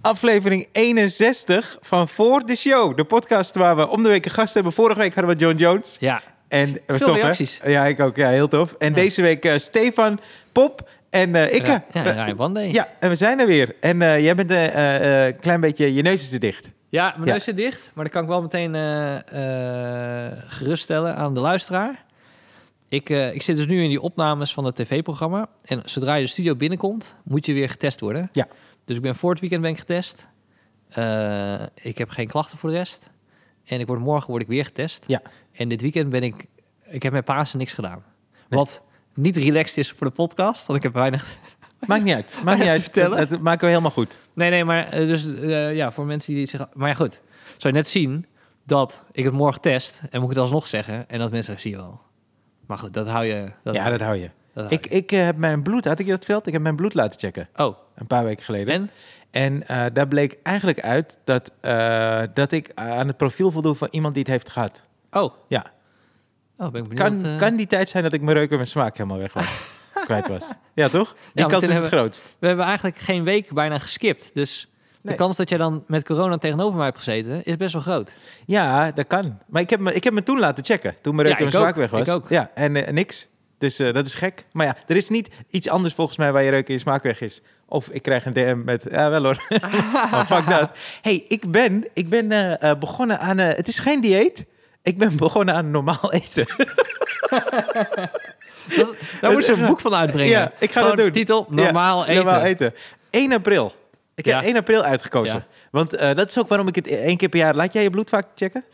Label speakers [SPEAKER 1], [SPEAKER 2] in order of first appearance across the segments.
[SPEAKER 1] aflevering 61 van Voor de Show. De podcast waar we om de week een gast hebben. Vorige week hadden we John Jones.
[SPEAKER 2] Ja.
[SPEAKER 1] En dat was
[SPEAKER 2] Veel
[SPEAKER 1] tof, hè?
[SPEAKER 2] reacties.
[SPEAKER 1] Ja, ik ook. Ja, heel tof. En deze week eh, Stefan, Pop en eh Ikke.
[SPEAKER 2] Ja, ja, Ryan Wandey.
[SPEAKER 1] Ja, en we zijn er weer. En eh, jij bent een klein beetje... Je neus is te dicht.
[SPEAKER 2] Ja, mijn
[SPEAKER 1] Ja.
[SPEAKER 2] neus zit dicht, maar dat kan ik wel meteen eh, eh, geruststellen aan de luisteraar. Ik, eh, ik zit dus nu in die opnames van het tv-programma. En zodra je de studio binnenkomt, moet je weer getest worden.
[SPEAKER 1] Ja.
[SPEAKER 2] Dus ik ben voor het weekend ben ik getest. Eh, ik heb geen klachten voor de rest. En ik word, morgen word ik weer getest.
[SPEAKER 1] Ja.
[SPEAKER 2] En dit weekend ben ik... Ik heb met Pasen niks gedaan. Wat niet relaxed is voor de podcast, want ik heb weinig
[SPEAKER 1] Maakt niet uit. Maakt niet uit.
[SPEAKER 2] Vertellen.
[SPEAKER 1] Dat, dat maken we helemaal goed.
[SPEAKER 2] Nee, nee, maar eh, dus eh, ja, voor mensen die zeggen... Maar ja, goed, zou je net zien dat ik het morgen test en moet ik het alsnog zeggen en dat mensen zeggen, zie je wel. Maar goed, dat hou je... Dat
[SPEAKER 1] ja, dat hou je.
[SPEAKER 2] dat hou
[SPEAKER 1] Ik, ik eh, heb mijn bloed... Had ik je dat veld? Ik heb mijn bloed laten checken.
[SPEAKER 2] je. Oh,
[SPEAKER 1] Een paar weken geleden.
[SPEAKER 2] en?
[SPEAKER 1] En eh, daar bleek eigenlijk uit dat, eh, dat ik aan het profiel voldoe van iemand die het heeft gehad.
[SPEAKER 2] Oh,
[SPEAKER 1] Ja.
[SPEAKER 2] oh ben ik benieuwd.
[SPEAKER 1] Kan,
[SPEAKER 2] eh.
[SPEAKER 1] kan die tijd zijn dat ik mijn reuk en mijn smaak helemaal weg was, kwijt was? Ja, toch? Die kans
[SPEAKER 2] want dan
[SPEAKER 1] is het
[SPEAKER 2] hebben-
[SPEAKER 1] grootst.
[SPEAKER 2] We hebben eigenlijk geen week bijna geskipt, dus
[SPEAKER 1] Nee.
[SPEAKER 2] de kans dat jij dan met corona tegenover mij hebt gezeten is best wel groot.
[SPEAKER 1] Ja, dat kan. Maar ik heb me, ik heb me toen laten checken, toen mijn reuk
[SPEAKER 2] Ja,
[SPEAKER 1] en
[SPEAKER 2] ik
[SPEAKER 1] mijn smaak weg
[SPEAKER 2] ook.
[SPEAKER 1] was.
[SPEAKER 2] Ik ook.
[SPEAKER 1] Ja, en eh, niks. Dus eh, dat is gek. Maar ja, er is niet iets anders volgens mij waar je reuk en je smaak weg is. Of ik krijg een DM met, ja wel hoor. Maar fuck dat. hey, ik ben, ik ben eh, eh, begonnen aan, eh, het is geen dieet. Ik ben begonnen aan normaal eten.
[SPEAKER 2] Dat, daar moet ze een boek van uitbrengen.
[SPEAKER 1] Ja, ik ga
[SPEAKER 2] Gewoon
[SPEAKER 1] dat doen.
[SPEAKER 2] titel, normaal
[SPEAKER 1] Ja,
[SPEAKER 2] eten.
[SPEAKER 1] Normaal eten. 1 april. Ik
[SPEAKER 2] Ja.
[SPEAKER 1] heb 1 april uitgekozen.
[SPEAKER 2] Ja.
[SPEAKER 1] Want eh, dat is ook waarom ik het één keer per jaar... Laat jij je bloed vaak checken?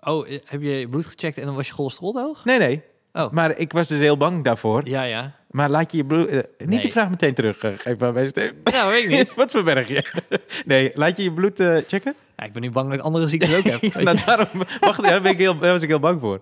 [SPEAKER 2] Oh, eh, heb je je bloed gecheckt en dan was je cholesterol te hoog?
[SPEAKER 1] Nee, nee.
[SPEAKER 2] Oh.
[SPEAKER 1] Maar ik was dus heel bang daarvoor.
[SPEAKER 2] Ja, ja.
[SPEAKER 1] Maar laat je je bloed... eh, niet
[SPEAKER 2] Nee.
[SPEAKER 1] die vraag meteen terug, eh, geef maar bij Steve.
[SPEAKER 2] Ja, weet ik niet.
[SPEAKER 1] Wat verberg je? nee, laat je je bloed eh, checken?
[SPEAKER 2] Ja, ik ben nu bang dat ik andere ziektes ook heb. weet
[SPEAKER 1] Ja,
[SPEAKER 2] je.
[SPEAKER 1] nou, daarom wacht, daar, ben ik heel, daar was ik heel bang voor.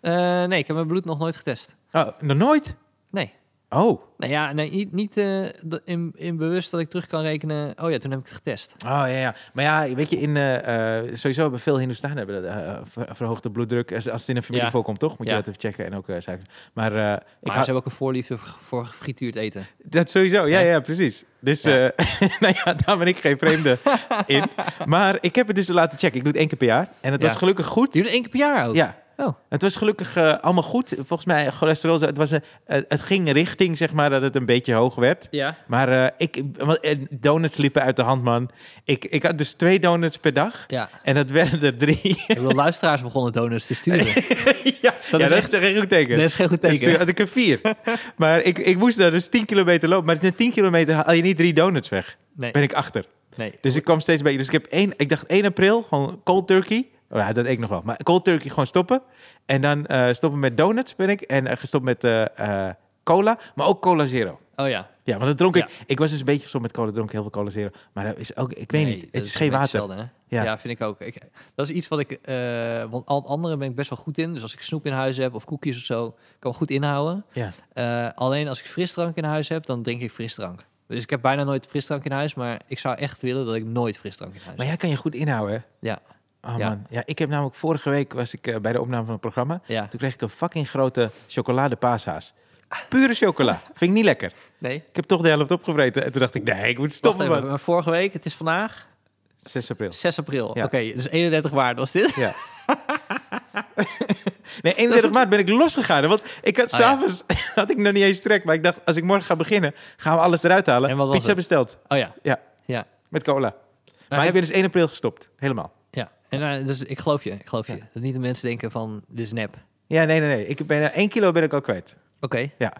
[SPEAKER 2] Eh, nee, ik heb mijn bloed nog nooit getest.
[SPEAKER 1] Oh, nog nooit?
[SPEAKER 2] Nee.
[SPEAKER 1] Oh.
[SPEAKER 2] Nou ja, nee, niet, niet eh, d- in, in bewust dat ik terug kan rekenen. Oh ja, toen heb ik het getest.
[SPEAKER 1] Oh ja, ja. Maar ja, weet je, in, eh, eh, sowieso hebben veel Hindustanen hebben dat, eh, ver- verhoogde bloeddruk. Als, als het in een familie
[SPEAKER 2] Ja.
[SPEAKER 1] voorkomt, toch? Moet je
[SPEAKER 2] Ja.
[SPEAKER 1] dat even checken en ook eh suiker. Maar, eh, ik
[SPEAKER 2] Maar
[SPEAKER 1] hou-
[SPEAKER 2] ze hebben ook een voorliefde voor- voor gefrituurd eten.
[SPEAKER 1] dat sowieso, ja,
[SPEAKER 2] Nee.
[SPEAKER 1] ja, precies. Dus
[SPEAKER 2] Ja.
[SPEAKER 1] eh, nou ja, daar ben ik geen vreemde in. Maar ik heb het dus laten checken. Ik doe het één keer per jaar. En het
[SPEAKER 2] Ja.
[SPEAKER 1] was gelukkig goed.
[SPEAKER 2] Duurde één keer per jaar ook.
[SPEAKER 1] Ja.
[SPEAKER 2] Oh.
[SPEAKER 1] Het was gelukkig eh, allemaal goed. Volgens mij, cholesterol, het, was een, eh, het ging richting, zeg maar, dat het een beetje hoog werd.
[SPEAKER 2] Ja.
[SPEAKER 1] Maar eh, ik, want, eh, donuts liepen uit de hand, man. Ik, ik had dus twee donuts per dag.
[SPEAKER 2] Ja.
[SPEAKER 1] En dat werden er drie.
[SPEAKER 2] Ik bedoel, luisteraars begonnen donuts te sturen.
[SPEAKER 1] ja, ja,
[SPEAKER 2] is
[SPEAKER 1] dat
[SPEAKER 2] echt-
[SPEAKER 1] is toch een goed teken.
[SPEAKER 2] Dat is geen goed
[SPEAKER 1] Dus toen
[SPEAKER 2] teken.
[SPEAKER 1] had ik een vier. maar ik, ik moest daar dus 10 kilometer lopen. Maar na 10 kilometer haal je niet drie donuts weg.
[SPEAKER 2] Nee,
[SPEAKER 1] Ben ik achter.
[SPEAKER 2] nee.
[SPEAKER 1] Dus ik kwam steeds een beetje. Dus ik heb één, ik dacht 1 april, gewoon cold turkey. Oh ja, dat eet ik nog wel. Maar cold turkey gewoon stoppen. En dan eh, stoppen met donuts ben ik. En eh, gestopt met eh, eh, cola. Maar ook cola zero.
[SPEAKER 2] Oh ja.
[SPEAKER 1] Ja, want dat dronk
[SPEAKER 2] Ja.
[SPEAKER 1] ik. Ik was dus een beetje gestopt met cola, dronk heel veel cola zero. Maar dat is ook, ik weet
[SPEAKER 2] Nee,
[SPEAKER 1] niet.
[SPEAKER 2] dat
[SPEAKER 1] Het is geen
[SPEAKER 2] een
[SPEAKER 1] water.
[SPEAKER 2] beetje zelden, hè?
[SPEAKER 1] Ja.
[SPEAKER 2] Ja. vind ik ook. Ik, dat is iets wat ik... eh, want al het andere ben ik best wel goed in. Dus als ik snoep in huis heb of koekjes of zo... kan ik goed inhouden.
[SPEAKER 1] Ja.
[SPEAKER 2] Eh, alleen als ik frisdrank in huis heb, dan drink ik frisdrank. Dus ik heb bijna nooit frisdrank in huis, maar ik zou echt willen dat ik nooit frisdrank in huis
[SPEAKER 1] Maar jij
[SPEAKER 2] heb.
[SPEAKER 1] kan je goed inhouden, hè?
[SPEAKER 2] Ja,
[SPEAKER 1] Oh
[SPEAKER 2] Ja.
[SPEAKER 1] man, ja, ik heb namelijk vorige week was ik eh, bij de opname van het programma.
[SPEAKER 2] ja.
[SPEAKER 1] Toen kreeg ik een fucking grote chocoladepaashaas. Pure chocola. Vind ik niet lekker.
[SPEAKER 2] Nee.
[SPEAKER 1] Ik heb toch de helft opgevreten. En toen dacht ik, nee, ik moet
[SPEAKER 2] Wacht
[SPEAKER 1] stoppen.
[SPEAKER 2] even,
[SPEAKER 1] Man.
[SPEAKER 2] maar vorige week, het is vandaag
[SPEAKER 1] 6 april.
[SPEAKER 2] 6 april.
[SPEAKER 1] Ja.
[SPEAKER 2] Oké, dus 31 waard was dit.
[SPEAKER 1] Ja. nee, 31 maart ben ik losgegaan. Want ik had
[SPEAKER 2] Oh, ja.
[SPEAKER 1] s'avonds had ik nog niet eens trek. Maar ik dacht, als ik morgen ga beginnen, gaan we alles eruit halen.
[SPEAKER 2] En wat was
[SPEAKER 1] Pizza
[SPEAKER 2] het?
[SPEAKER 1] besteld
[SPEAKER 2] Oh ja.
[SPEAKER 1] Ja.
[SPEAKER 2] Ja.
[SPEAKER 1] met cola. Maar
[SPEAKER 2] heb-
[SPEAKER 1] ik ben dus 1 april gestopt. Helemaal.
[SPEAKER 2] ja. En, eh, dus ik geloof je, ik geloof
[SPEAKER 1] Ja.
[SPEAKER 2] je. Dat niet de mensen denken van, dit is nep. Oké,
[SPEAKER 1] Ja, nee, nee, nee. Ik ben, eh, 1 kilo ben ik al kwijt.
[SPEAKER 2] oké.
[SPEAKER 1] Ja.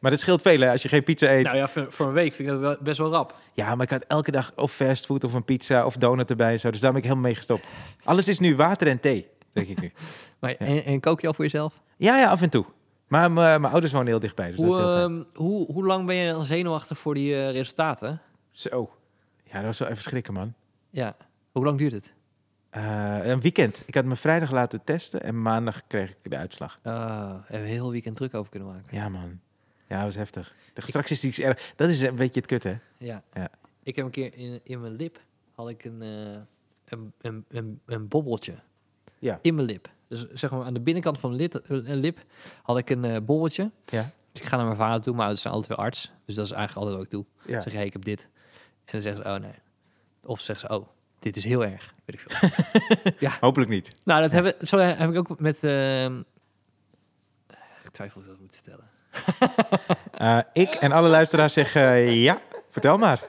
[SPEAKER 1] Maar dat scheelt veel hè, als je geen pizza eet.
[SPEAKER 2] Nou ja, voor, voor een week vind ik dat wel- best wel rap.
[SPEAKER 1] Ja, maar ik had elke dag of fastfood of een pizza of donut erbij. en Zo. Dus daar ben ik helemaal mee gestopt. Alles is nu water en thee, denk ik nu.
[SPEAKER 2] Maar, en, en kook je al voor jezelf?
[SPEAKER 1] Ja, ja, af en toe. Maar mijn mijn ouders wonen heel dichtbij, dus dat
[SPEAKER 2] Hoe,
[SPEAKER 1] is heel fijn.
[SPEAKER 2] ehm, hoe, hoe lang ben je dan zenuwachtig voor die eh, resultaten?
[SPEAKER 1] Zo. Ja, dat was wel even schrikken, man.
[SPEAKER 2] Ja. Hoe lang duurt het?
[SPEAKER 1] Eh, een weekend. Ik had me vrijdag laten testen en maandag kreeg ik de uitslag.
[SPEAKER 2] Ah, hebben we een heel weekend druk over kunnen maken.
[SPEAKER 1] Ja, man. Ja, dat was heftig. Straks is iets erg. Dat is een beetje het kut, hè?
[SPEAKER 2] Ja.
[SPEAKER 1] Ja.
[SPEAKER 2] Ik heb een keer in, in mijn lip had ik een, eh, een, een, een, een bobbeltje.
[SPEAKER 1] Ja.
[SPEAKER 2] In mijn lip. Dus zeg maar aan de binnenkant van mijn lid- eh, lip had ik een eh, bobbeltje.
[SPEAKER 1] Ja.
[SPEAKER 2] Dus ik ga naar mijn vader toe, maar het zijn altijd weer arts. Dus dat is eigenlijk altijd wat ik doe.
[SPEAKER 1] Ja.
[SPEAKER 2] Zeg, hey, ik heb dit. En dan zeggen ze, oh nee. Of zeggen ze, oh, dit is heel erg. Weet ik veel.
[SPEAKER 1] Hopelijk niet.
[SPEAKER 2] nou, dat hebben, zo heb ik ook met... ehm, ik twijfel of ik dat moet vertellen.
[SPEAKER 1] Eh, ik en alle luisteraars zeggen eh, ja, vertel maar.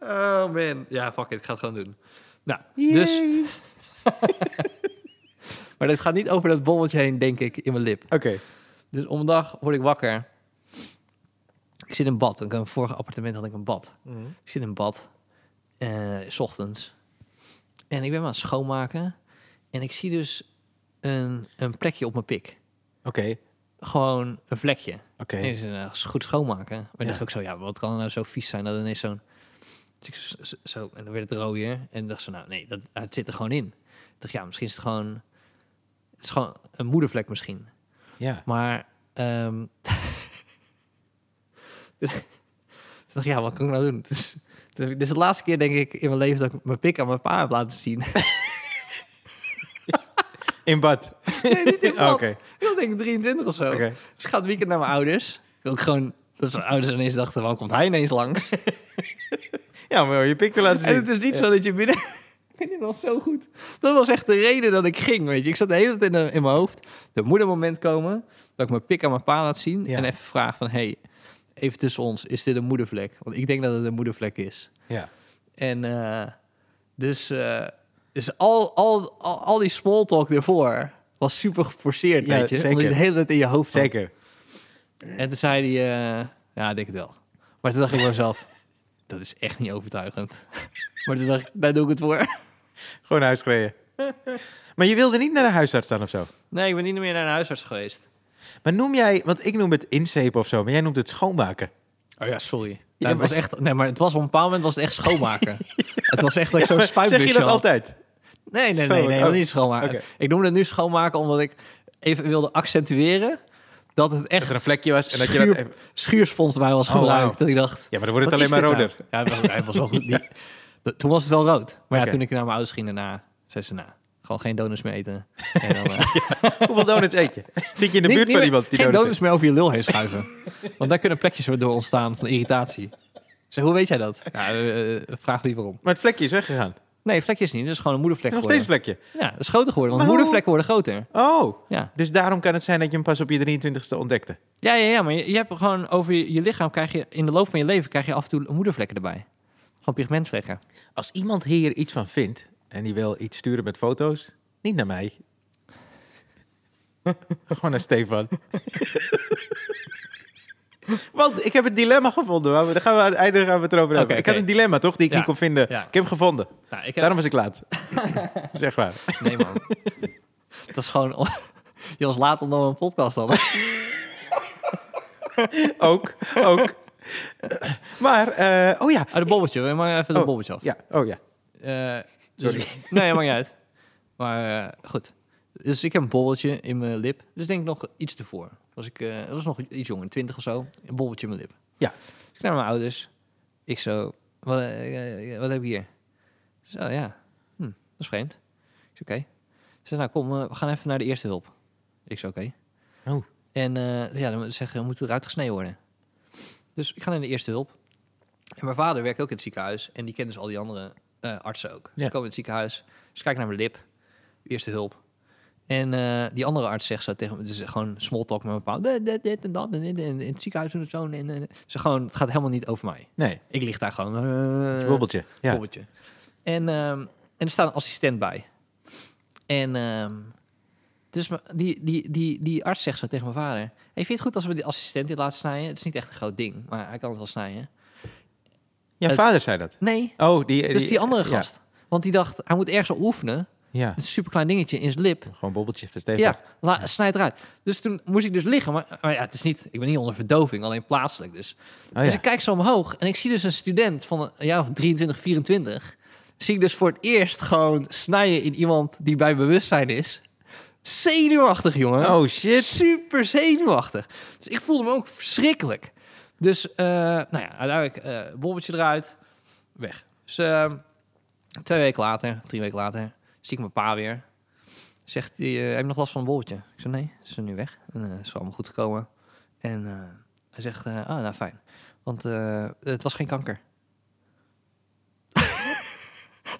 [SPEAKER 2] Oh man. Ja, fuck it. Ik ga het gewoon doen. Nou, dus...
[SPEAKER 1] Yay.
[SPEAKER 2] Maar het gaat niet over dat bolletje heen, denk ik, in mijn lip.
[SPEAKER 1] Oké,
[SPEAKER 2] Dus om een dag word ik wakker. Ik zit in bad. Ik had In mijn vorige appartement had ik een bad.
[SPEAKER 1] Mm.
[SPEAKER 2] Ik zit in bad. eh, s ochtends. En ik ben me aan het schoonmaken. En ik zie dus een, een plekje op mijn pik.
[SPEAKER 1] oké,
[SPEAKER 2] Gewoon een vlekje.
[SPEAKER 1] oké.
[SPEAKER 2] En ik zei, nou, is goed schoonmaken. Maar
[SPEAKER 1] Ja.
[SPEAKER 2] ik dacht ook zo, ja, wat kan er nou zo vies zijn dat er ineens zo'n... Dus ik zo, zo- zo- en dan werd het rooier. En dacht ze, nou nee, dat, het zit er gewoon in. Ik dacht, ja, misschien is het gewoon... Het is gewoon een moedervlek misschien.
[SPEAKER 1] Ja,
[SPEAKER 2] Maar ehm ik dacht, ja, wat kan ik nou doen? Dus, toen heb ik- dit is de laatste keer, denk ik, in mijn leven dat ik mijn pik aan mijn pa heb laten zien.
[SPEAKER 1] in bad.
[SPEAKER 2] nee, niet in bad.
[SPEAKER 1] Oké.
[SPEAKER 2] Ik was denk ik 23 of zo.
[SPEAKER 1] Oké.
[SPEAKER 2] Dus ik ga het weekend naar mijn ouders. Ik ook gewoon... Dat mijn ouders ineens dachten, waarom komt hij ineens lang?
[SPEAKER 1] Ja, maar je pik te laten zien.
[SPEAKER 2] En het is niet zo dat je binnen... Ik vind dit nog zo goed. Dat was echt de reden dat ik ging, weet je. Ik zat de hele tijd in, eh, in mijn hoofd. Er moet een moment komen dat ik mijn pik aan mijn pa laat zien...
[SPEAKER 1] Ja.
[SPEAKER 2] en even vraag van, hey, even tussen ons, is dit een moedervlek? Want ik denk dat het een moedervlek is.
[SPEAKER 1] Ja.
[SPEAKER 2] En eh, dus, eh, dus al, al, al, al die small talk ervoor was super geforceerd,
[SPEAKER 1] Ja,
[SPEAKER 2] weet je.
[SPEAKER 1] zeker.
[SPEAKER 2] Omdat je het de hele tijd in je hoofd had.
[SPEAKER 1] Zeker.
[SPEAKER 2] En toen zei hij, eh, ja, ik denk het wel. Maar toen dacht ik bij mezelf, dat is echt niet overtuigend. maar toen dacht ik, daar doe ik het voor.
[SPEAKER 1] Gewoon naar huis gereden. maar je wilde niet naar de huisarts dan of zo?
[SPEAKER 2] Nee, ik ben niet meer naar een huisarts geweest.
[SPEAKER 1] Maar noem jij, want ik noem het inzepen of zo, maar jij noemt het schoonmaken.
[SPEAKER 2] Oh ja, sorry. Ja,
[SPEAKER 1] Ja,
[SPEAKER 2] het
[SPEAKER 1] maar-
[SPEAKER 2] was echt, nee, maar het was op een bepaald moment was het echt schoonmaken. Het was echt dat ik zo'n
[SPEAKER 1] Zeg
[SPEAKER 2] spuitbusje
[SPEAKER 1] je dat
[SPEAKER 2] had.
[SPEAKER 1] altijd?
[SPEAKER 2] Nee, nee,
[SPEAKER 1] Zo,
[SPEAKER 2] nee, nee,
[SPEAKER 1] oh.
[SPEAKER 2] niet schoonmaken.
[SPEAKER 1] Oké.
[SPEAKER 2] Ik noemde het nu schoonmaken omdat ik even wilde accentueren dat het echt
[SPEAKER 1] Dat er een vlekje was en dat je dat...
[SPEAKER 2] schuur, schuurspons bij was
[SPEAKER 1] Oh, wauw.
[SPEAKER 2] gebruikt. Dat ik dacht,
[SPEAKER 1] Ja, maar dan wordt het
[SPEAKER 2] Wat
[SPEAKER 1] alleen maar
[SPEAKER 2] is dit
[SPEAKER 1] roder.
[SPEAKER 2] nou? Ja, het was, hij was wel goed. Die- dat- toen was het wel rood. Maar
[SPEAKER 1] Oké.
[SPEAKER 2] ja, toen ik naar mijn ouders ging daarna, zei ze na. Gewoon geen donuts meer eten. En dan, eh,
[SPEAKER 1] Hoeveel donuts eet je? Zit je in de
[SPEAKER 2] niet-
[SPEAKER 1] buurt
[SPEAKER 2] niet
[SPEAKER 1] van
[SPEAKER 2] meer-
[SPEAKER 1] iemand die
[SPEAKER 2] Geen
[SPEAKER 1] donuts
[SPEAKER 2] donuts meer over je lul heen schuiven. Want daar kunnen plekjes door ontstaan van irritatie. Ik Zeg, hoe weet jij dat? Ja, eh, eh, vraag liever om.
[SPEAKER 1] eet? Maar het vlekje is weggegaan.
[SPEAKER 2] Nee, vlekjes niet. Het is gewoon een moedervlek
[SPEAKER 1] Nog steeds
[SPEAKER 2] geworden.
[SPEAKER 1] vlekje.
[SPEAKER 2] Ja, het is groter geworden. Want
[SPEAKER 1] Maar hoe-
[SPEAKER 2] moedervlekken worden groter.
[SPEAKER 1] Oh,
[SPEAKER 2] Ja.
[SPEAKER 1] dus daarom kan het zijn dat je hem pas op je 23ste ontdekte.
[SPEAKER 2] Ja, ja, ja, maar je, je hebt gewoon over je, je lichaam krijg je in de loop van je leven krijg je af en toe moedervlekken erbij. Gewoon pigmentvlekken.
[SPEAKER 1] Als iemand hier iets van vindt en die wil iets sturen met foto's, niet naar mij. Gewoon naar Stefan. Want ik heb het dilemma gevonden. waar we- Daar gaan we aan het einde gaan we het over hebben.
[SPEAKER 2] Oké,
[SPEAKER 1] ik
[SPEAKER 2] oké.
[SPEAKER 1] had een dilemma, toch? Die ik
[SPEAKER 2] Ja,
[SPEAKER 1] niet kon vinden.
[SPEAKER 2] ja.
[SPEAKER 1] Ik heb hem gevonden.
[SPEAKER 2] Nou, ik
[SPEAKER 1] Daarom was ik laat. zeg maar.
[SPEAKER 2] Nee, man. dat is gewoon... Je was laat omdat we een podcast hadden.
[SPEAKER 1] Ook. Ook. Maar, eh, oh ja.
[SPEAKER 2] Ah, de bobbeltje. We maar even de
[SPEAKER 1] Oh,
[SPEAKER 2] bobbeltje af.
[SPEAKER 1] Ja, oh ja.
[SPEAKER 2] Eh, dus-
[SPEAKER 1] Sorry.
[SPEAKER 2] nee, maakt niet uit. Maar eh, goed. Dus ik heb een bobbeltje in mijn lip. Dus denk ik nog iets ervoor. Was ik eh, was nog iets jonger, 20 of zo. Een bobbeltje in mijn lip.
[SPEAKER 1] Ja.
[SPEAKER 2] Dus ik naar mijn ouders. Ik zo, wat, eh, eh, wat heb je hier? Ze zei, oh ja, hm, dat is vreemd. Ik zei, oké. Ze zei, nou kom, eh, we gaan even naar de eerste hulp. Ik zei, oké.
[SPEAKER 1] Oh.
[SPEAKER 2] En eh, ja, dan zeggen we, moet het eruit gesneden worden. Dus ik ga naar de eerste hulp. En mijn vader werkt ook in het ziekenhuis. En die kent dus al die andere eh, artsen ook.
[SPEAKER 1] Ja.
[SPEAKER 2] Dus ik kom in het ziekenhuis. Dus kijk naar mijn lip. Eerste hulp. En eh, die andere arts zegt zo tegen me, het is gewoon small talk met mijn pa. Dit, dit, dit en dat. En dit, en in het ziekenhuis doen het zo. En, en, en. Ze gewoon, het gaat helemaal niet over mij.
[SPEAKER 1] Nee,
[SPEAKER 2] Ik lig daar gewoon. eh,
[SPEAKER 1] bobbeltje. Ja.
[SPEAKER 2] bobbeltje. En, ehm, en er staat een assistent bij. En ehm, dus me- die, die, die, die arts zegt zo tegen mijn vader... Hey, vind je het goed als we die assistent dit laten snijden? Het is niet echt een groot ding, maar hij kan het wel snijden.
[SPEAKER 1] Jouw
[SPEAKER 2] Het-
[SPEAKER 1] vader zei dat.
[SPEAKER 2] Nee,
[SPEAKER 1] Oh, die...
[SPEAKER 2] Eh, dus die andere
[SPEAKER 1] ja,
[SPEAKER 2] gast. Want die dacht, hij moet ergens al oefenen. Het
[SPEAKER 1] Ja,
[SPEAKER 2] is een superklein dingetje in zijn lip.
[SPEAKER 1] gewoon bobbeltje van Stefan.
[SPEAKER 2] Ja, la, snijd eruit. Dus toen moest ik dus liggen. Maar, maar ja, het is niet, ik ben niet onder verdoving, alleen plaatselijk dus.
[SPEAKER 1] Oh,
[SPEAKER 2] Dus
[SPEAKER 1] ja.
[SPEAKER 2] ik kijk zo omhoog en ik zie dus een student van een jaar of 23, 24. Zie ik dus voor het eerst gewoon snijden in iemand die bij bewustzijn is. Zenuwachtig, jongen.
[SPEAKER 1] Oh shit.
[SPEAKER 2] Super zenuwachtig. Dus ik voelde me ook verschrikkelijk. Dus, eh, nou ja, uiteindelijk eh bobbeltje eruit, weg. Dus eh, twee weken later, drie weken later, zie ik mijn pa weer. Zegt hij, eh, heb je nog last van een bobbeltje? Ik zeg, nee, ze is nu weg. En eh, is allemaal goed gekomen. En eh, hij zegt, eh, ah, nou fijn. Want eh, het was geen kanker.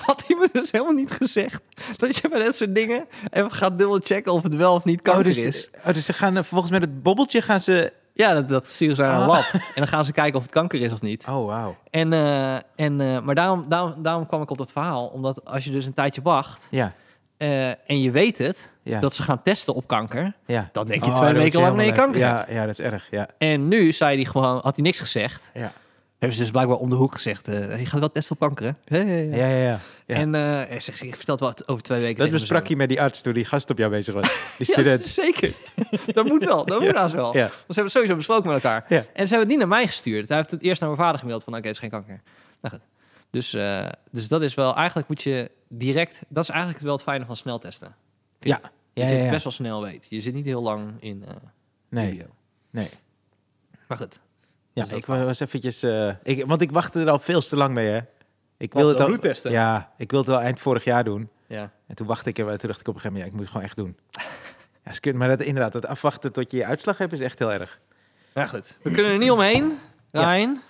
[SPEAKER 2] Had hij me dus helemaal niet gezegd dat je bij dat soort dingen even gaat dubbelchecken of het wel of niet kanker
[SPEAKER 1] oh, dus,
[SPEAKER 2] is.
[SPEAKER 1] oh, dus ze gaan eh, vervolgens met het bobbeltje gaan ze...
[SPEAKER 2] Ja, dat, dat sturen ze naar een
[SPEAKER 1] Ah.
[SPEAKER 2] lab. En dan gaan ze kijken of het kanker is of niet.
[SPEAKER 1] Oh, wauw.
[SPEAKER 2] En, eh, en, eh, maar daarom, daarom, daarom kwam ik op dat verhaal. Omdat als je dus een tijdje wacht
[SPEAKER 1] Ja,
[SPEAKER 2] eh, en je weet het,
[SPEAKER 1] ja.
[SPEAKER 2] dat ze gaan testen op kanker.
[SPEAKER 1] ja.
[SPEAKER 2] Dan denk je
[SPEAKER 1] Oh,
[SPEAKER 2] twee
[SPEAKER 1] dan
[SPEAKER 2] weken lang
[SPEAKER 1] word je
[SPEAKER 2] nee, je kanker
[SPEAKER 1] helemaal
[SPEAKER 2] hebt.
[SPEAKER 1] leuk. Ja, ja, dat is erg. Ja,
[SPEAKER 2] En nu zei hij gewoon, had hij niks gezegd.
[SPEAKER 1] ja,
[SPEAKER 2] Hebben ze dus blijkbaar om de hoek gezegd, eh, je gaat wel testen op kanker, hè? Ja, ja, ja.
[SPEAKER 1] ja. ja, ja. Ja.
[SPEAKER 2] En eh, hij zegt, ik vertel het wel over twee weken.
[SPEAKER 1] Dat
[SPEAKER 2] tegen
[SPEAKER 1] besprak je
[SPEAKER 2] mijn
[SPEAKER 1] met die arts toen die gast op jou bezig was. Die
[SPEAKER 2] zoon. Ja,
[SPEAKER 1] student.
[SPEAKER 2] dat is zeker. dat moet wel, dat moet haast wel.
[SPEAKER 1] Ja.
[SPEAKER 2] Want ze hebben het sowieso besproken met elkaar.
[SPEAKER 1] Ja.
[SPEAKER 2] En ze hebben het niet naar mij gestuurd. Hij heeft het eerst naar mijn vader gemaild van, oké, het is geen kanker. Nou goed. Dus, eh, dus dat is wel, eigenlijk moet je direct... Dat is eigenlijk wel het fijne van snel testen.
[SPEAKER 1] Ja.
[SPEAKER 2] Je
[SPEAKER 1] Ja,
[SPEAKER 2] zit
[SPEAKER 1] ja, ja.
[SPEAKER 2] best wel snel weet. Je zit niet heel lang in eh
[SPEAKER 1] Nee,
[SPEAKER 2] dubio.
[SPEAKER 1] nee.
[SPEAKER 2] Maar goed.
[SPEAKER 1] Ja,
[SPEAKER 2] Dus dat
[SPEAKER 1] ik wa- was eventjes... eh, ik, want ik wachtte er al veel te lang mee, hè. Ik
[SPEAKER 2] Wat,
[SPEAKER 1] wilde het
[SPEAKER 2] dat
[SPEAKER 1] al,
[SPEAKER 2] bloedtesten?
[SPEAKER 1] Ja, ik wilde het al eind vorig jaar doen.
[SPEAKER 2] Ja.
[SPEAKER 1] En toen wachtte ik en toen dacht ik op een gegeven moment... Ja, ik moet het gewoon echt doen. Ja, is kut, maar dat, inderdaad, dat afwachten tot je je uitslag hebt is echt heel erg.
[SPEAKER 2] Maar goed. We kunnen er niet omheen,
[SPEAKER 1] Ja.
[SPEAKER 2] Rijn.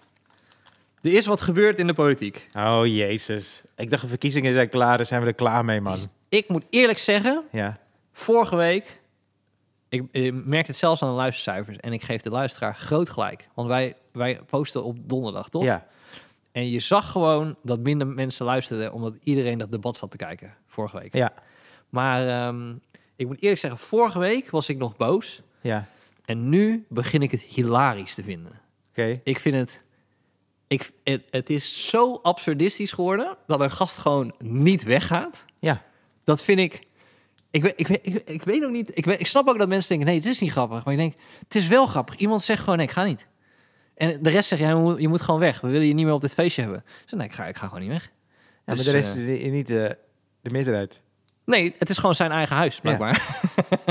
[SPEAKER 2] Er is wat gebeurd in de politiek.
[SPEAKER 1] Oh, jezus. Ik dacht, de verkiezingen zijn klaar, daar zijn we er klaar mee, man.
[SPEAKER 2] Ik moet eerlijk zeggen,
[SPEAKER 1] Ja,
[SPEAKER 2] vorige week... Ik, eh, merk het zelfs aan de luistercijfers. En ik geef de luisteraar groot gelijk. Want wij, wij posten op donderdag, toch?
[SPEAKER 1] ja.
[SPEAKER 2] En je zag gewoon dat minder mensen luisterden... omdat iedereen dat debat zat te kijken vorige week.
[SPEAKER 1] Ja,
[SPEAKER 2] Maar ehm, ik moet eerlijk zeggen, vorige week was ik nog boos.
[SPEAKER 1] ja.
[SPEAKER 2] En nu begin ik het hilarisch te vinden.
[SPEAKER 1] Oké.
[SPEAKER 2] Ik vind het... Ik, het, het is zo absurdistisch geworden dat een gast gewoon niet weggaat.
[SPEAKER 1] Ja.
[SPEAKER 2] Dat vind ik... Ik, weet- ik, weet- ik, ik weet ook niet... Ik, weet- ik snap ook dat mensen denken, nee, het is niet grappig. Maar ik denk, het is wel grappig. Iemand zegt gewoon, nee, ik ga niet. En de rest zegt, ja, je moet, je moet gewoon weg. We willen je niet meer op dit feestje hebben. Ik zeg, nee, ik ga, ik ga gewoon niet weg.
[SPEAKER 1] Ja,
[SPEAKER 2] Dus,
[SPEAKER 1] maar de rest
[SPEAKER 2] eh,
[SPEAKER 1] is niet eh, de meerderheid.
[SPEAKER 2] Nee, het is gewoon zijn eigen huis, blijkbaar.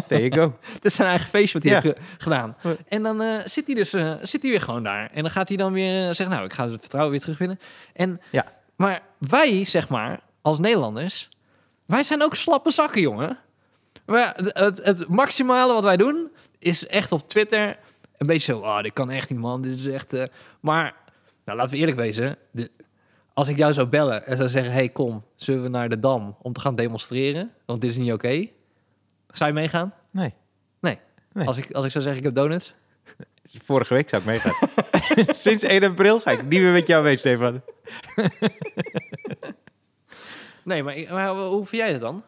[SPEAKER 1] There you go.
[SPEAKER 2] Het is zijn eigen feestje wat hij
[SPEAKER 1] Ja.
[SPEAKER 2] heeft ge- gedaan.
[SPEAKER 1] Ja.
[SPEAKER 2] En dan eh, zit hij dus eh, zit hij weer gewoon daar. En dan gaat hij dan weer eh, zeggen, nou, ik ga het vertrouwen weer terugwinnen. En,
[SPEAKER 1] Ja.
[SPEAKER 2] Maar wij, zeg maar, als Nederlanders, wij zijn ook slappe zakken, jongen. Maar het, het, het maximale wat wij doen, is echt op Twitter een beetje zo, ah, dit kan echt niet, man. Dit is echt... eh." Maar, nou, laten we eerlijk wezen, de, als ik jou zou bellen en zou zeggen, hey, kom, zullen we naar de Dam om te gaan demonstreren? Want dit is niet oké. Zou je meegaan?
[SPEAKER 1] Nee. Nee.
[SPEAKER 2] Als, ik, als ik zou zeggen, ik heb donuts.
[SPEAKER 1] Vorige week zou ik meegaan. Sinds 1 april ga ik niet meer met jou mee, Stefan.
[SPEAKER 2] Nee, maar, ik- maar hoe vind jij dat dan? Ik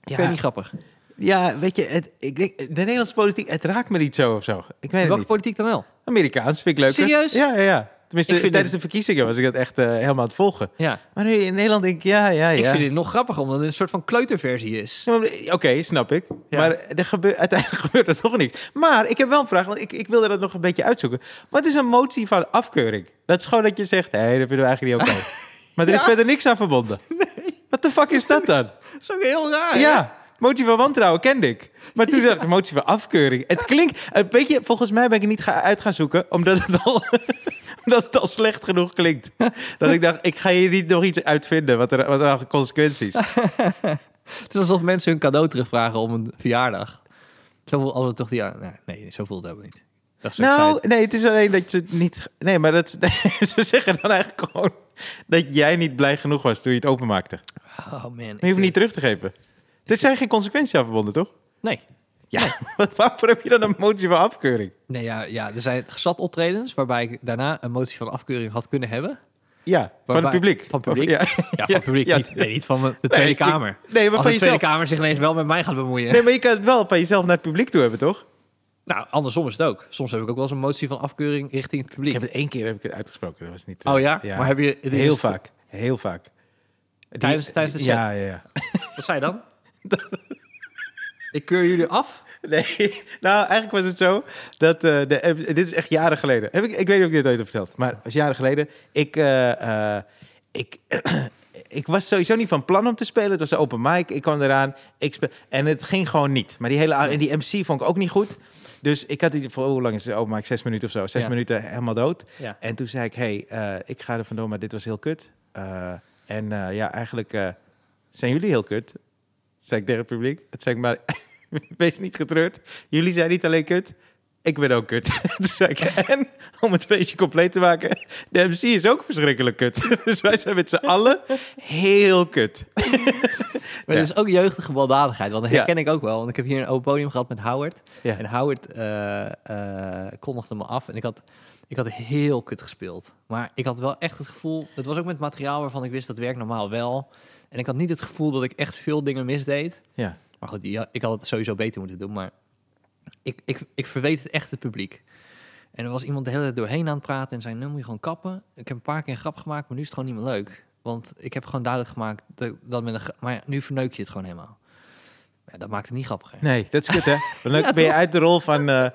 [SPEAKER 1] Ja.
[SPEAKER 2] vind het niet grappig.
[SPEAKER 1] Ja, weet je, het, ik denk, de Nederlandse politiek, het raakt me niet zo of zo. Ik weet het
[SPEAKER 2] Welke
[SPEAKER 1] niet.
[SPEAKER 2] politiek dan wel?
[SPEAKER 1] Amerikaans vind ik leuk.
[SPEAKER 2] Serieus?
[SPEAKER 1] Ja, ja, ja. Tenminste,
[SPEAKER 2] Ik vind
[SPEAKER 1] tijdens de verkiezingen was ik dat echt eh, helemaal aan het volgen.
[SPEAKER 2] Ja.
[SPEAKER 1] Maar nu in Nederland denk ik, ja, ja, ja.
[SPEAKER 2] Ik vind het nog grappiger, omdat het een soort van kleuterversie is.
[SPEAKER 1] Ja, maar- Oké, snap ik.
[SPEAKER 2] Ja.
[SPEAKER 1] Maar er gebeurt uiteindelijk gebeurt er toch niks. Maar ik heb wel een vraag, want ik, ik wilde dat nog een beetje uitzoeken. Wat is een motie van afkeuring? Dat is gewoon dat je zegt, hé, dat vinden we eigenlijk niet oké. maar er is
[SPEAKER 2] Ja.
[SPEAKER 1] verder niks aan verbonden. Wat de fuck is dat dan?
[SPEAKER 2] Dat is ook heel raar.
[SPEAKER 1] Ja, motie van wantrouwen kende ik. Maar toen dacht ik, motie van afkeuring. Het klinkt een beetje, volgens mij ben ik het niet ga, uit gaan zoeken, omdat het al... omdat het al slecht genoeg klinkt. Dat ik dacht, ik ga hier niet nog iets uitvinden. Wat er, wat er aan consequenties.
[SPEAKER 2] Het is alsof mensen hun cadeau terugvragen om een verjaardag. Zo voelt als het toch die... ja, Nee, nee, zo voelt het helemaal niet. Dat is
[SPEAKER 1] Nou,
[SPEAKER 2] excited.
[SPEAKER 1] nee, het is alleen dat je het niet. Nee, maar dat, ze zeggen dan eigenlijk gewoon dat jij niet blij genoeg was toen je het openmaakte. Maar
[SPEAKER 2] Oh man. ik
[SPEAKER 1] je hoeft
[SPEAKER 2] vind-
[SPEAKER 1] het niet terug te geven. Dit zijn geen consequenties aan verbonden, toch?
[SPEAKER 2] Nee.
[SPEAKER 1] Ja, waarvoor heb je dan een motie van afkeuring?
[SPEAKER 2] Nee, ja, ja, er zijn zat optredens waarbij ik daarna een motie van afkeuring had kunnen hebben.
[SPEAKER 1] Ja, van het
[SPEAKER 2] Waarbij-
[SPEAKER 1] publiek.
[SPEAKER 2] Van het publiek?
[SPEAKER 1] Of-
[SPEAKER 2] Ja,
[SPEAKER 1] ja.
[SPEAKER 2] van het publiek
[SPEAKER 1] Ja.
[SPEAKER 2] niet. Nee, niet van de, de Tweede
[SPEAKER 1] ik-
[SPEAKER 2] Kamer.
[SPEAKER 1] nee, maar
[SPEAKER 2] Als
[SPEAKER 1] van
[SPEAKER 2] de Tweede
[SPEAKER 1] jezelf.
[SPEAKER 2] Kamer zich ineens wel met mij gaat bemoeien.
[SPEAKER 1] Nee, maar je kan het wel van jezelf naar het publiek toe hebben, toch?
[SPEAKER 2] Nou, andersom is het ook. Soms heb ik ook wel eens een motie van afkeuring richting het publiek.
[SPEAKER 1] Ik heb het één keer heb ik het uitgesproken. Dat was niet. eh,
[SPEAKER 2] Oh ja? Maar heb je... dit
[SPEAKER 1] heel
[SPEAKER 2] is-
[SPEAKER 1] vaak, heel vaak. Die-
[SPEAKER 2] Tijdens- tijdens de set?
[SPEAKER 1] Ja, ja, ja.
[SPEAKER 2] Wat zei je dan? ik keur jullie af.
[SPEAKER 1] Nee, nou eigenlijk was het zo dat eh, de, eh, dit is echt jaren geleden. Heb ik, ik weet niet of ik dit ooit heb verteld, maar het was jaren geleden. Ik, eh, eh, ik, ik was sowieso niet van plan om te spelen. Het was een open mic. Ik kwam eraan. Ik speel, en het ging gewoon niet. Maar die hele en die MC vond ik ook niet goed. Dus ik had die voor hoe lang is het open mic? Zes minuten of zo. Zes
[SPEAKER 2] Ja.
[SPEAKER 1] minuten helemaal dood.
[SPEAKER 2] Ja.
[SPEAKER 1] En toen zei ik, hey, eh, ik ga er vandoor, maar dit was heel kut. Eh, en eh, ja, eigenlijk eh, zijn jullie heel kut. Zei ik tegen het publiek. Het zei ik maar, wees niet getreurd. Jullie zijn niet alleen kut. ik ben ook kut. Toen zei ik, en om het feestje compleet te maken, de MC is ook verschrikkelijk kut. Dus wij zijn met z'n allen heel kut.
[SPEAKER 2] Maar dat is ook jeugdige baldadigheid, want dat
[SPEAKER 1] Ja.
[SPEAKER 2] herken ik ook wel. Want ik heb hier een open podium gehad met Howard.
[SPEAKER 1] Ja.
[SPEAKER 2] En Howard eh, eh, kondigde me af en ik had, ik had heel kut gespeeld. Maar ik had wel echt het gevoel, dat was ook met materiaal waarvan ik wist dat werkt normaal wel. En ik had niet het gevoel dat ik echt veel dingen misdeed.
[SPEAKER 1] Ja,
[SPEAKER 2] Maar goed, ja, ik had het sowieso beter moeten doen. Maar ik, ik, ik verweet het echt het publiek. En er was iemand de hele tijd doorheen aan het praten en zei: Nu moet je gewoon kappen. Ik heb een paar keer een grap gemaakt, maar nu is het gewoon niet meer leuk. Want ik heb gewoon duidelijk gemaakt dat, dat met een gra- Maar ja, nu verneuk je het gewoon helemaal. Ja, dat maakt het niet grappiger.
[SPEAKER 1] nee, dat is kut, hè? Dan ben je uit de rol van eh,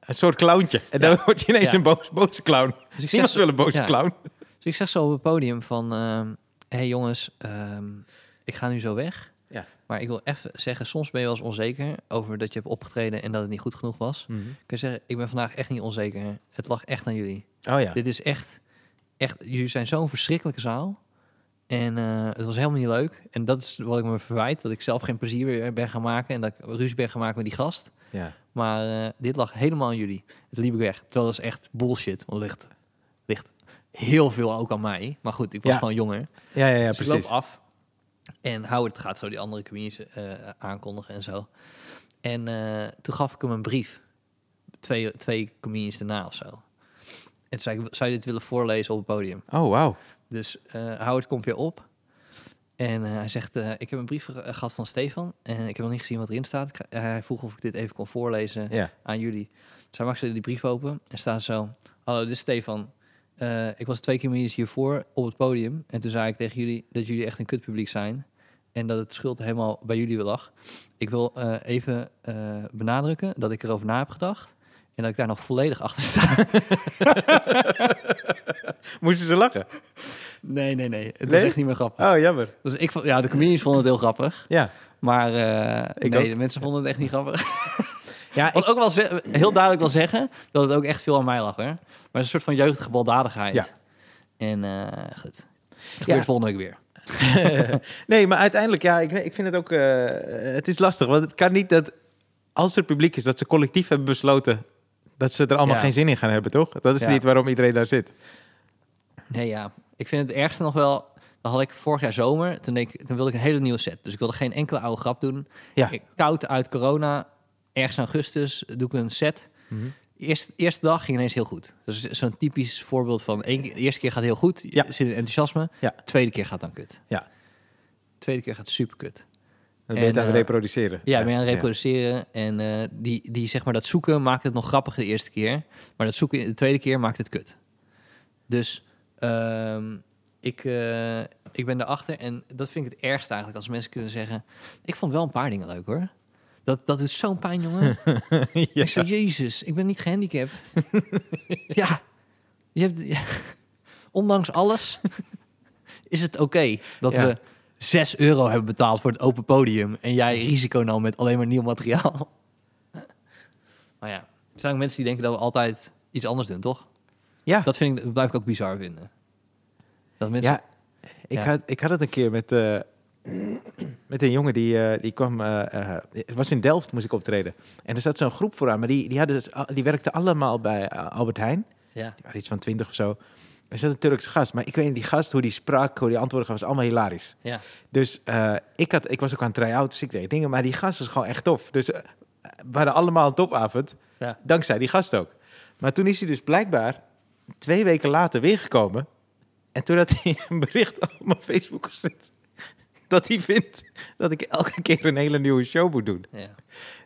[SPEAKER 1] een soort clowntje. En dan word je ineens
[SPEAKER 2] Ja.
[SPEAKER 1] een boos, boze clown.
[SPEAKER 2] Dus ik
[SPEAKER 1] Niemand
[SPEAKER 2] zeg,
[SPEAKER 1] wil een boze
[SPEAKER 2] ja.
[SPEAKER 1] clown.
[SPEAKER 2] dus ik zeg zo op het podium: van... ehm, hey jongens, ehm, ik ga nu zo weg.
[SPEAKER 1] Ja.
[SPEAKER 2] Maar ik wil even zeggen: soms ben je wel eens onzeker over dat je hebt opgetreden en dat het niet goed genoeg was.
[SPEAKER 1] Hm.
[SPEAKER 2] Ik kan zeggen: Ik ben vandaag echt niet onzeker. Het lag echt aan jullie.
[SPEAKER 1] Oh ja.
[SPEAKER 2] Dit is echt, echt, jullie zijn zo'n verschrikkelijke zaal. En eh, het was helemaal niet leuk. En dat is wat ik me verwijt, dat ik zelf geen plezier meer ben gaan maken. En dat ik ruzie ben gaan maken met die gast.
[SPEAKER 1] ja.
[SPEAKER 2] Maar eh, dit lag helemaal aan jullie. Het liep ik weg. Terwijl dat is echt bullshit. Want het ligt, ligt heel veel ook aan mij. Maar goed, ik was
[SPEAKER 1] Ja.
[SPEAKER 2] gewoon jonger.
[SPEAKER 1] Ja, ja, ja,
[SPEAKER 2] Dus ik
[SPEAKER 1] precies.
[SPEAKER 2] loop af. En Howard gaat zo die andere comedians eh, aankondigen en zo. En eh, toen gaf ik hem een brief. Twee, twee comedians daarna of zo. En toen zei ik, zou je dit willen voorlezen op het podium?
[SPEAKER 1] Oh, wauw.
[SPEAKER 2] Dus eh, Howard komt weer op. En eh, hij zegt, eh, ik heb een brief ge- gehad van Stefan. En ik heb nog niet gezien wat erin staat. Ik ga- eh, hij vroeg of ik dit even kon voorlezen
[SPEAKER 1] Ja.
[SPEAKER 2] aan jullie. Dus hij maakt zo die brief open en staat zo... Hallo, dit is Stefan. Eh, ik was twee keer minus hiervoor op het podium. En toen zei ik tegen jullie dat jullie echt een kutpubliek zijn. En dat het schuld helemaal bij jullie lag. Ik wil eh, even eh, benadrukken dat ik erover na heb gedacht. En dat ik daar nog volledig achter sta.
[SPEAKER 1] Moesten ze lachen?
[SPEAKER 2] Nee, nee, nee. Het
[SPEAKER 1] Nee?
[SPEAKER 2] is echt niet meer grappig.
[SPEAKER 1] Oh, jammer.
[SPEAKER 2] Dus ik vond, ja, de comedians vonden het heel grappig.
[SPEAKER 1] Ja.
[SPEAKER 2] Maar eh,
[SPEAKER 1] Ik
[SPEAKER 2] nee,
[SPEAKER 1] ook.
[SPEAKER 2] de mensen vonden het echt niet grappig.
[SPEAKER 1] Ja,
[SPEAKER 2] Wat ook wel ze- heel duidelijk wil zeggen dat het ook echt veel aan mij lag, hè? Maar het is een soort van jeugdige baldadigheid.
[SPEAKER 1] Ja.
[SPEAKER 2] En eh, goed. Het gebeurt
[SPEAKER 1] Ja.
[SPEAKER 2] volgende week weer.
[SPEAKER 1] nee, maar uiteindelijk, ja, ik, ik vind het ook... eh, het is lastig, want het kan niet dat... Als er publiek is, dat ze collectief hebben besloten... dat ze er allemaal
[SPEAKER 2] Ja.
[SPEAKER 1] geen zin in gaan hebben, toch? Dat is
[SPEAKER 2] Ja.
[SPEAKER 1] niet waarom iedereen daar zit.
[SPEAKER 2] Nee, ja. Ik vind het ergste nog wel... Dan had ik vorig jaar zomer, toen, ik, toen wilde ik een hele nieuwe set. Dus ik wilde geen enkele oude grap doen.
[SPEAKER 1] Ja.
[SPEAKER 2] Ik- Koud uit corona, ergens in augustus, doe ik een set. Eerst, eerste dag ging ineens heel goed. Dus zo'n typisch voorbeeld van... één keer- de eerste keer gaat heel goed,
[SPEAKER 1] Ja.
[SPEAKER 2] zit in enthousiasme.
[SPEAKER 1] Ja.
[SPEAKER 2] Tweede keer gaat dan kut.
[SPEAKER 1] Ja.
[SPEAKER 2] Tweede keer gaat super kut.
[SPEAKER 1] Dan ben je het
[SPEAKER 2] En,
[SPEAKER 1] aan het
[SPEAKER 2] eh,
[SPEAKER 1] reproduceren.
[SPEAKER 2] Ja, ik ben aan het reproduceren. En eh, die, die, zeg maar, dat zoeken maakt het nog grappig de eerste keer. Maar dat zoeken de tweede keer maakt het kut. Dus ehm, ik, eh, ik ben erachter. En dat vind ik het ergste eigenlijk. Als mensen kunnen zeggen... Ik vond wel een paar dingen leuk hoor. Dat, dat doet zo'n pijn, jongen.
[SPEAKER 1] Ja.
[SPEAKER 2] Ik zo, jezus, ik ben niet gehandicapt. ja. Je hebt, ja. Ondanks alles is het oké dat
[SPEAKER 1] Ja.
[SPEAKER 2] we 6 euro hebben betaald voor het open podium. En jij risico nam met alleen maar nieuw materiaal. maar ja, er zijn ook mensen die denken dat we altijd iets anders doen, toch?
[SPEAKER 1] Ja.
[SPEAKER 2] Dat, vind ik, dat blijf ik ook bizar vinden. Dat mensen...
[SPEAKER 1] Ja, ik,
[SPEAKER 2] Ja.
[SPEAKER 1] Had, ik had het een keer met, eh, met een jongen die, eh, die kwam. eh, eh, het was in Delft, moest ik optreden. En er zat zo'n groep vooraan, maar die, die, hadden, dus al- die werkten allemaal bij eh, Albert Heijn.
[SPEAKER 2] ja.
[SPEAKER 1] Die waren iets van twintig of zo. Er zat een Turks gast, maar ik weet niet, die gast, hoe die sprak, hoe die antwoorden gaf, was allemaal hilarisch.
[SPEAKER 2] ja.
[SPEAKER 1] Dus eh, ik, had, ik was ook aan het try-out, dus ik deed dingen, maar die gast was gewoon echt tof. Dus eh, we hadden allemaal een topavond,
[SPEAKER 2] Ja.
[SPEAKER 1] dankzij die gast ook. Maar toen is hij dus blijkbaar twee weken later weer gekomen. En toen had hij een bericht op mijn Facebook gezet. Dat hij vindt dat ik elke keer een hele nieuwe show moet doen.
[SPEAKER 2] Ja.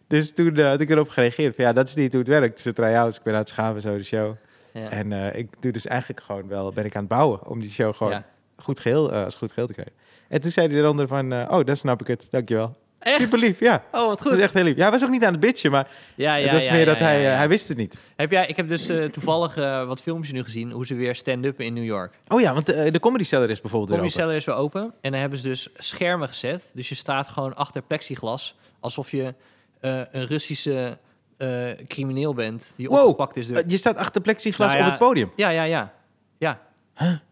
[SPEAKER 1] Dus toen eh, had ik erop gereageerd. Van, ja, dat is niet hoe het werkt. Het is een try-out. Ik ben aan het schaven, zo de show.
[SPEAKER 2] Ja.
[SPEAKER 1] En eh, ik doe dus eigenlijk gewoon wel, ben ik aan het bouwen om die show gewoon
[SPEAKER 2] Ja.
[SPEAKER 1] goed geheel, eh, als goed geheel te krijgen. En toen zei hij eronder van, eh, oh, dat snap ik het, dankjewel.
[SPEAKER 2] Echt?
[SPEAKER 1] Super lief, ja.
[SPEAKER 2] Oh, wat
[SPEAKER 1] Dat is
[SPEAKER 2] goed.
[SPEAKER 1] echt heel lief. Ja, hij was ook niet aan het bitchen, maar
[SPEAKER 2] Ja, ja,
[SPEAKER 1] het was
[SPEAKER 2] ja,
[SPEAKER 1] meer
[SPEAKER 2] ja,
[SPEAKER 1] dat
[SPEAKER 2] ja,
[SPEAKER 1] hij,
[SPEAKER 2] ja.
[SPEAKER 1] eh, hij wist het niet.
[SPEAKER 2] Heb jij, ik heb dus eh, toevallig eh, wat filmpjes nu gezien... hoe ze weer stand-uppen in New York.
[SPEAKER 1] Oh ja, want eh, de Comedy Cellar is bijvoorbeeld weer
[SPEAKER 2] Comedy
[SPEAKER 1] open.
[SPEAKER 2] Cellar is weer open. En dan hebben ze dus schermen gezet. Dus je staat gewoon achter plexiglas. Alsof je eh, een Russische eh, crimineel bent die
[SPEAKER 1] Wow.
[SPEAKER 2] opgepakt is door...
[SPEAKER 1] Eh, je staat achter plexiglas
[SPEAKER 2] Nou ja,
[SPEAKER 1] op het podium.
[SPEAKER 2] Ja, ja, ja. Ja,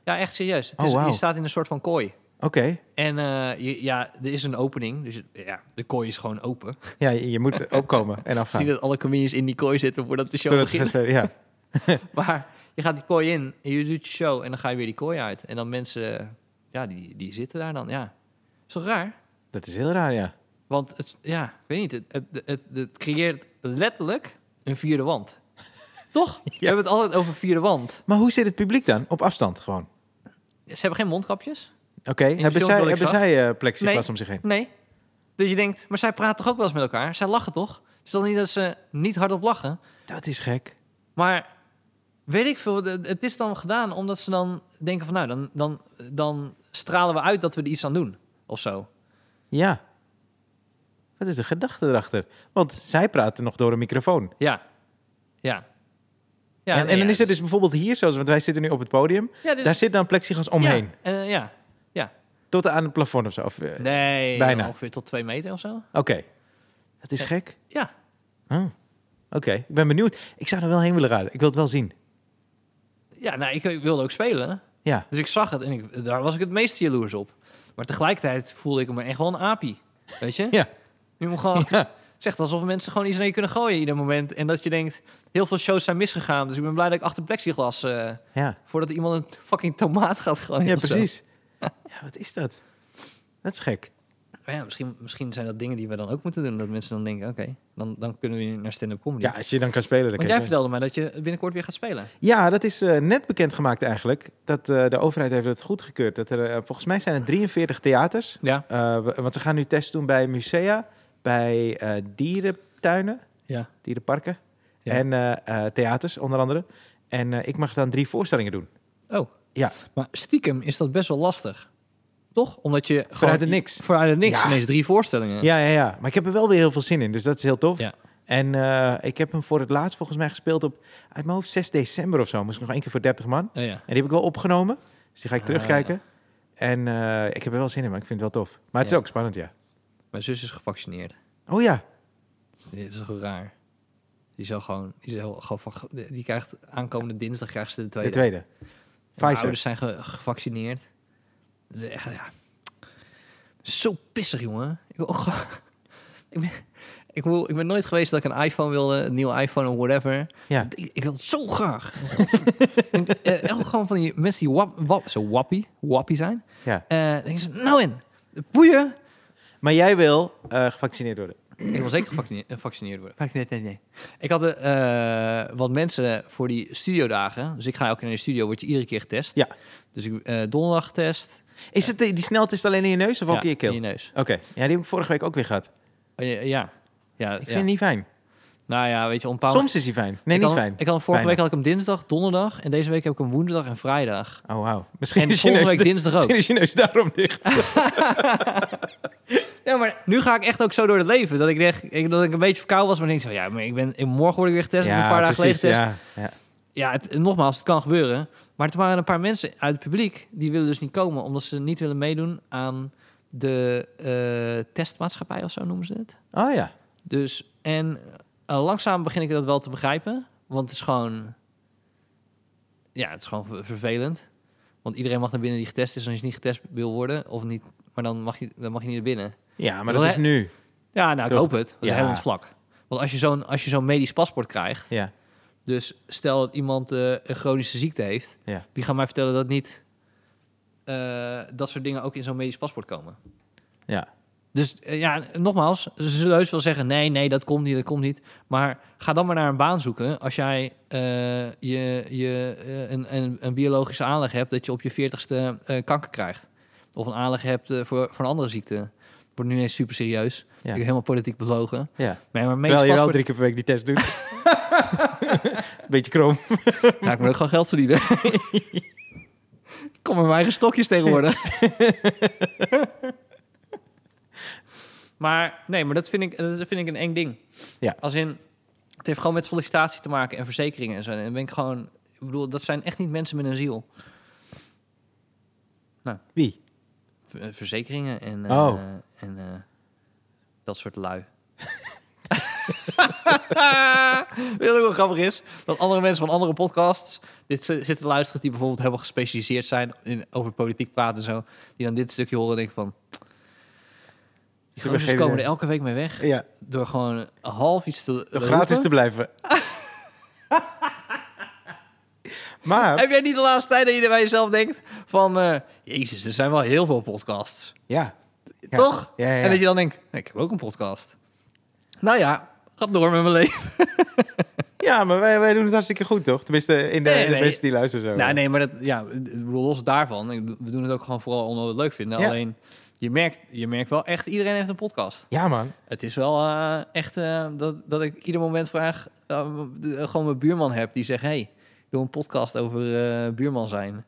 [SPEAKER 2] ja echt serieus. Het
[SPEAKER 1] Oh,
[SPEAKER 2] is,
[SPEAKER 1] wauw.
[SPEAKER 2] Je staat in een soort van kooi.
[SPEAKER 1] Oké.
[SPEAKER 2] En eh, je, ja, er is een opening. Dus ja, de kooi is gewoon open.
[SPEAKER 1] Ja, je, je moet opkomen en
[SPEAKER 2] Zie
[SPEAKER 1] afgaan.
[SPEAKER 2] dat alle comedians in die kooi zitten voordat de show
[SPEAKER 1] Totdat het
[SPEAKER 2] begint.
[SPEAKER 1] gaat- ja.
[SPEAKER 2] Maar je gaat die kooi in, en je doet je show en dan ga je weer die kooi uit. En dan mensen, ja, die, die zitten daar dan, ja. Is toch raar?
[SPEAKER 1] Dat is heel raar, ja.
[SPEAKER 2] Want het, ja, ik weet niet, het, het, het, het creëert letterlijk een vierde wand. Toch? We hebben het altijd over vierde wand.
[SPEAKER 1] Maar hoe zit het publiek dan? Op afstand gewoon.
[SPEAKER 2] Ze hebben geen mondkapjes?
[SPEAKER 1] Oké,
[SPEAKER 2] de
[SPEAKER 1] hebben
[SPEAKER 2] film
[SPEAKER 1] zij,
[SPEAKER 2] dat ik
[SPEAKER 1] hebben
[SPEAKER 2] zag?
[SPEAKER 1] zij eh, plexiglas
[SPEAKER 2] Nee.
[SPEAKER 1] om zich heen?
[SPEAKER 2] Nee. Dus je denkt, maar zij praten toch ook wel eens met elkaar? Zij lachen toch? Het is dan niet dat ze niet hardop lachen?
[SPEAKER 1] Dat is gek.
[SPEAKER 2] Maar weet ik veel, het het is dan gedaan omdat ze dan denken van... nou, dan, dan, dan stralen we uit dat we er iets aan doen, of zo.
[SPEAKER 1] Ja. Wat is de gedachte erachter? Want zij praten nog door een microfoon.
[SPEAKER 2] Ja. Ja. ja
[SPEAKER 1] en,
[SPEAKER 2] nee,
[SPEAKER 1] en dan
[SPEAKER 2] ja,
[SPEAKER 1] is het dus bijvoorbeeld hier, zoals, want wij zitten nu op het podium.
[SPEAKER 2] Ja, dus-
[SPEAKER 1] Daar zit dan plexiglas omheen.
[SPEAKER 2] Ja, en, eh, ja. ja.
[SPEAKER 1] Tot aan het plafond of zo. Of, eh,
[SPEAKER 2] Nee,
[SPEAKER 1] bijna.
[SPEAKER 2] ongeveer tot twee meter of zo.
[SPEAKER 1] Oké. Dat is
[SPEAKER 2] Eh.
[SPEAKER 1] gek.
[SPEAKER 2] Ja.
[SPEAKER 1] Huh. Oh, Oké, ik ben benieuwd. Ik zou er wel heen willen raden. Ik wil het wel zien.
[SPEAKER 2] Ja, nou, ik, ik wilde ook spelen.
[SPEAKER 1] Ja.
[SPEAKER 2] Dus ik zag het en ik, daar was ik het meest jaloers op. Maar tegelijkertijd voelde ik me echt wel een apie. Weet je?
[SPEAKER 1] Ja.
[SPEAKER 2] Je moet gewoon achter-
[SPEAKER 1] Ja.
[SPEAKER 2] Zegt alsof mensen gewoon iets naar je kunnen gooien ieder moment. En dat je denkt, heel veel shows zijn misgegaan. Dus ik ben blij dat ik achter plexiglas... eh,
[SPEAKER 1] Ja,
[SPEAKER 2] voordat iemand een fucking tomaat gaat gooien.
[SPEAKER 1] Oh, ja
[SPEAKER 2] of zo.
[SPEAKER 1] precies. Ja, wat is dat? Dat is gek.
[SPEAKER 2] Maar ja, misschien, misschien zijn dat dingen die we dan ook moeten doen. Dat mensen dan denken, oké, dan, dan kunnen we naar stand-up comedy.
[SPEAKER 1] Ja, als je dan kan spelen. Dan
[SPEAKER 2] Want
[SPEAKER 1] kan
[SPEAKER 2] jij
[SPEAKER 1] je spelen.
[SPEAKER 2] vertelde mij dat je binnenkort weer gaat spelen.
[SPEAKER 1] Ja, dat is eh, net bekendgemaakt eigenlijk. Dat, eh, de overheid heeft het goedgekeurd. Dat er, eh, volgens mij zijn er 43 theaters.
[SPEAKER 2] Ja.
[SPEAKER 1] Eh, we- want ze gaan nu tests doen bij musea, bij eh, dierentuinen,
[SPEAKER 2] Ja.
[SPEAKER 1] dierenparken
[SPEAKER 2] Ja.
[SPEAKER 1] en eh, eh, theaters onder andere. En eh, ik mag dan drie voorstellingen doen.
[SPEAKER 2] Oh.
[SPEAKER 1] Ja.
[SPEAKER 2] Maar stiekem is dat best wel lastig. Toch? Omdat je gewoon-
[SPEAKER 1] Vanuit het niks.
[SPEAKER 2] Vanuit het niks.
[SPEAKER 1] Ja.
[SPEAKER 2] Ineens drie voorstellingen.
[SPEAKER 1] Ja, ja, ja. Maar ik heb er wel weer heel veel zin in, dus dat is heel tof.
[SPEAKER 2] Ja.
[SPEAKER 1] En eh, ik heb hem voor het laatst volgens mij gespeeld op, uit mijn hoofd, 6 december of zo. Moest ik nog één keer voor 30 man.
[SPEAKER 2] Oh ja.
[SPEAKER 1] En die heb ik wel opgenomen. Dus die ga ik
[SPEAKER 2] Ah,
[SPEAKER 1] terugkijken. En eh, ik heb er wel zin in, maar ik vind het wel tof. Maar het
[SPEAKER 2] Ja.
[SPEAKER 1] is ook spannend, ja.
[SPEAKER 2] Mijn zus is gevaccineerd.
[SPEAKER 1] Oh ja.
[SPEAKER 2] Dit is toch raar. Die zal gewoon, die zal gewoon van, die krijgt aankomende dinsdag krijgt ze de tweede.
[SPEAKER 1] De tweede.
[SPEAKER 2] En mijn
[SPEAKER 1] Pfizer.
[SPEAKER 2] ouders zijn ge- gevaccineerd. Dat is echt, ja. Zo pissig, jongen. Ik, wil ook gewoon- ik, ben, ik, wil, ik ben nooit geweest dat ik een iPhone wilde, een nieuwe iPhone of whatever.
[SPEAKER 1] Ja.
[SPEAKER 2] Ik, ik wil het zo graag. en, eh, echt gewoon van die mensen die wap, wap, zo wappie, wappie zijn.
[SPEAKER 1] ja.
[SPEAKER 2] Eh denken ze, nou in, boeien.
[SPEAKER 1] Maar jij wil eh, gevaccineerd worden.
[SPEAKER 2] Ik wil zeker gevaccineerd, eh, gevaccineerd worden. Nee, nee, nee. Ik had eh eh, wat mensen voor die studiodagen. Dus ik ga elke keer naar de studio, word je iedere keer getest.
[SPEAKER 1] Ja.
[SPEAKER 2] Dus ik, eh, donderdag getest.
[SPEAKER 1] Is het die, die sneltest alleen in je neus of ook in je keel?
[SPEAKER 2] in je neus.
[SPEAKER 1] Oké. Ja, die heb ik vorige week ook weer gehad.
[SPEAKER 2] Oh, ja, ja. ja,
[SPEAKER 1] Ik
[SPEAKER 2] ja.
[SPEAKER 1] vind het niet fijn.
[SPEAKER 2] Nou ja, weet je, om een paar-
[SPEAKER 1] Soms is hij fijn. Nee, niet
[SPEAKER 2] ik had, hem-
[SPEAKER 1] fijn.
[SPEAKER 2] Ik had hem vorige
[SPEAKER 1] Bijna.
[SPEAKER 2] week had ik hem dinsdag, donderdag. En deze week heb ik hem woensdag en vrijdag.
[SPEAKER 1] Oh, wauw. Misschien
[SPEAKER 2] En
[SPEAKER 1] is je
[SPEAKER 2] volgende
[SPEAKER 1] neus
[SPEAKER 2] week
[SPEAKER 1] da-
[SPEAKER 2] dinsdag ook.
[SPEAKER 1] Misschien is je neus daarom dicht.
[SPEAKER 2] Ja, maar nu ga ik echt ook zo door het leven. Dat ik, denk, ik, dat ik een beetje verkouden was. Maar ik denk zo, ja, maar ik ben, in- morgen word ik weer getest. en een paar dagen geleden
[SPEAKER 1] precies,
[SPEAKER 2] getest. Ja,
[SPEAKER 1] ja. ja.
[SPEAKER 2] het, nogmaals, het kan gebeuren. Maar er waren een paar mensen uit het publiek... die willen dus niet komen, omdat ze niet willen meedoen aan de eh, testmaatschappij of zo noemen ze het.
[SPEAKER 1] Oh ja.
[SPEAKER 2] Dus, en eh, langzaam begin ik dat wel te begrijpen. Want het is gewoon... Ja, het is gewoon ver- vervelend. Want iedereen mag naar binnen die getest is. En als je niet getest wil worden, of niet... Maar dan mag je, dan mag je niet naar binnen.
[SPEAKER 1] Ja, maar dat
[SPEAKER 2] Wil hij-
[SPEAKER 1] is nu.
[SPEAKER 2] Ja, nou, ik
[SPEAKER 1] Toch?
[SPEAKER 2] hoop het. Dat is
[SPEAKER 1] Ja.
[SPEAKER 2] helemaal het vlak. Want als je zo'n als je zo'n medisch paspoort krijgt...
[SPEAKER 1] Ja.
[SPEAKER 2] dus stel dat iemand eh, een chronische ziekte heeft...
[SPEAKER 1] Ja.
[SPEAKER 2] wie gaat mij vertellen dat niet... eh, dat soort dingen ook in zo'n medisch paspoort komen?
[SPEAKER 1] Ja.
[SPEAKER 2] Dus eh, ja, nogmaals, ze zullen heus wel zeggen... nee, nee, dat komt niet, dat komt niet. Maar ga dan maar naar een baan zoeken... als jij eh, je, je, eh, een, een, een biologische aanleg hebt... dat je op je veertigste eh kanker krijgt. Of een aanleg hebt eh, voor, voor een andere ziekte. Wordt nu ineens super serieus.
[SPEAKER 1] Ja.
[SPEAKER 2] Ik ben helemaal politiek bevlogen.
[SPEAKER 1] ja.
[SPEAKER 2] Nee, maar medisch
[SPEAKER 1] Terwijl je wel
[SPEAKER 2] paspoort
[SPEAKER 1] drie keer per week die test doet. Beetje krom.
[SPEAKER 2] ga ik me ook gewoon geld verdienen. Kom maar mijn eigen stokjes tegenwoordig. maar nee, maar dat vind, ik, dat vind ik een eng ding.
[SPEAKER 1] Ja.
[SPEAKER 2] Als in, het heeft gewoon met sollicitatie te maken en verzekeringen en zo. En dan ben ik gewoon, ik bedoel, dat zijn echt niet mensen met een ziel.
[SPEAKER 1] Wie?
[SPEAKER 2] Ver- eh, Oh. Verzekeringen en, eh,
[SPEAKER 1] Oh.
[SPEAKER 2] en eh, dat soort lui. Weet je wat ook wel grappig is? Dat andere mensen van andere podcasts dit zi- zitten te luisteren... die bijvoorbeeld helemaal gespecialiseerd zijn in, over politiek praten en zo... die dan dit stukje horen en denken van... Die gozers
[SPEAKER 1] begrepen
[SPEAKER 2] komen er
[SPEAKER 1] het.
[SPEAKER 2] elke week mee weg
[SPEAKER 1] Ja,
[SPEAKER 2] door gewoon half iets te
[SPEAKER 1] door
[SPEAKER 2] roepen.
[SPEAKER 1] gratis te blijven. maar,
[SPEAKER 2] Heb jij niet de laatste tijd dat je er bij jezelf denkt van... eh, Jezus, er zijn wel heel veel podcasts.
[SPEAKER 1] ja. Ja.
[SPEAKER 2] Toch?
[SPEAKER 1] Ja, ja, ja.
[SPEAKER 2] En dat je dan denkt, nee, ik heb ook een podcast. Nou ja, gaat door met mijn leven.
[SPEAKER 1] ja, maar wij, wij doen het hartstikke goed, toch? Tenminste, in de,
[SPEAKER 2] Nee,
[SPEAKER 1] in de
[SPEAKER 2] nee.
[SPEAKER 1] mensen die luisteren zo.
[SPEAKER 2] Nou, nee, maar dat, ja, ik bedoel, los daarvan. ik bedoel, We doen het ook gewoon vooral omdat we het leuk vinden.
[SPEAKER 1] Ja.
[SPEAKER 2] Alleen, je merkt, je merkt wel echt, iedereen heeft een podcast.
[SPEAKER 1] Ja, man.
[SPEAKER 2] Het is wel eh, echt eh, dat, dat ik ieder moment vraag... eh, de- gewoon mijn buurman heb die zegt... hey, doe een podcast over eh, buurman zijn.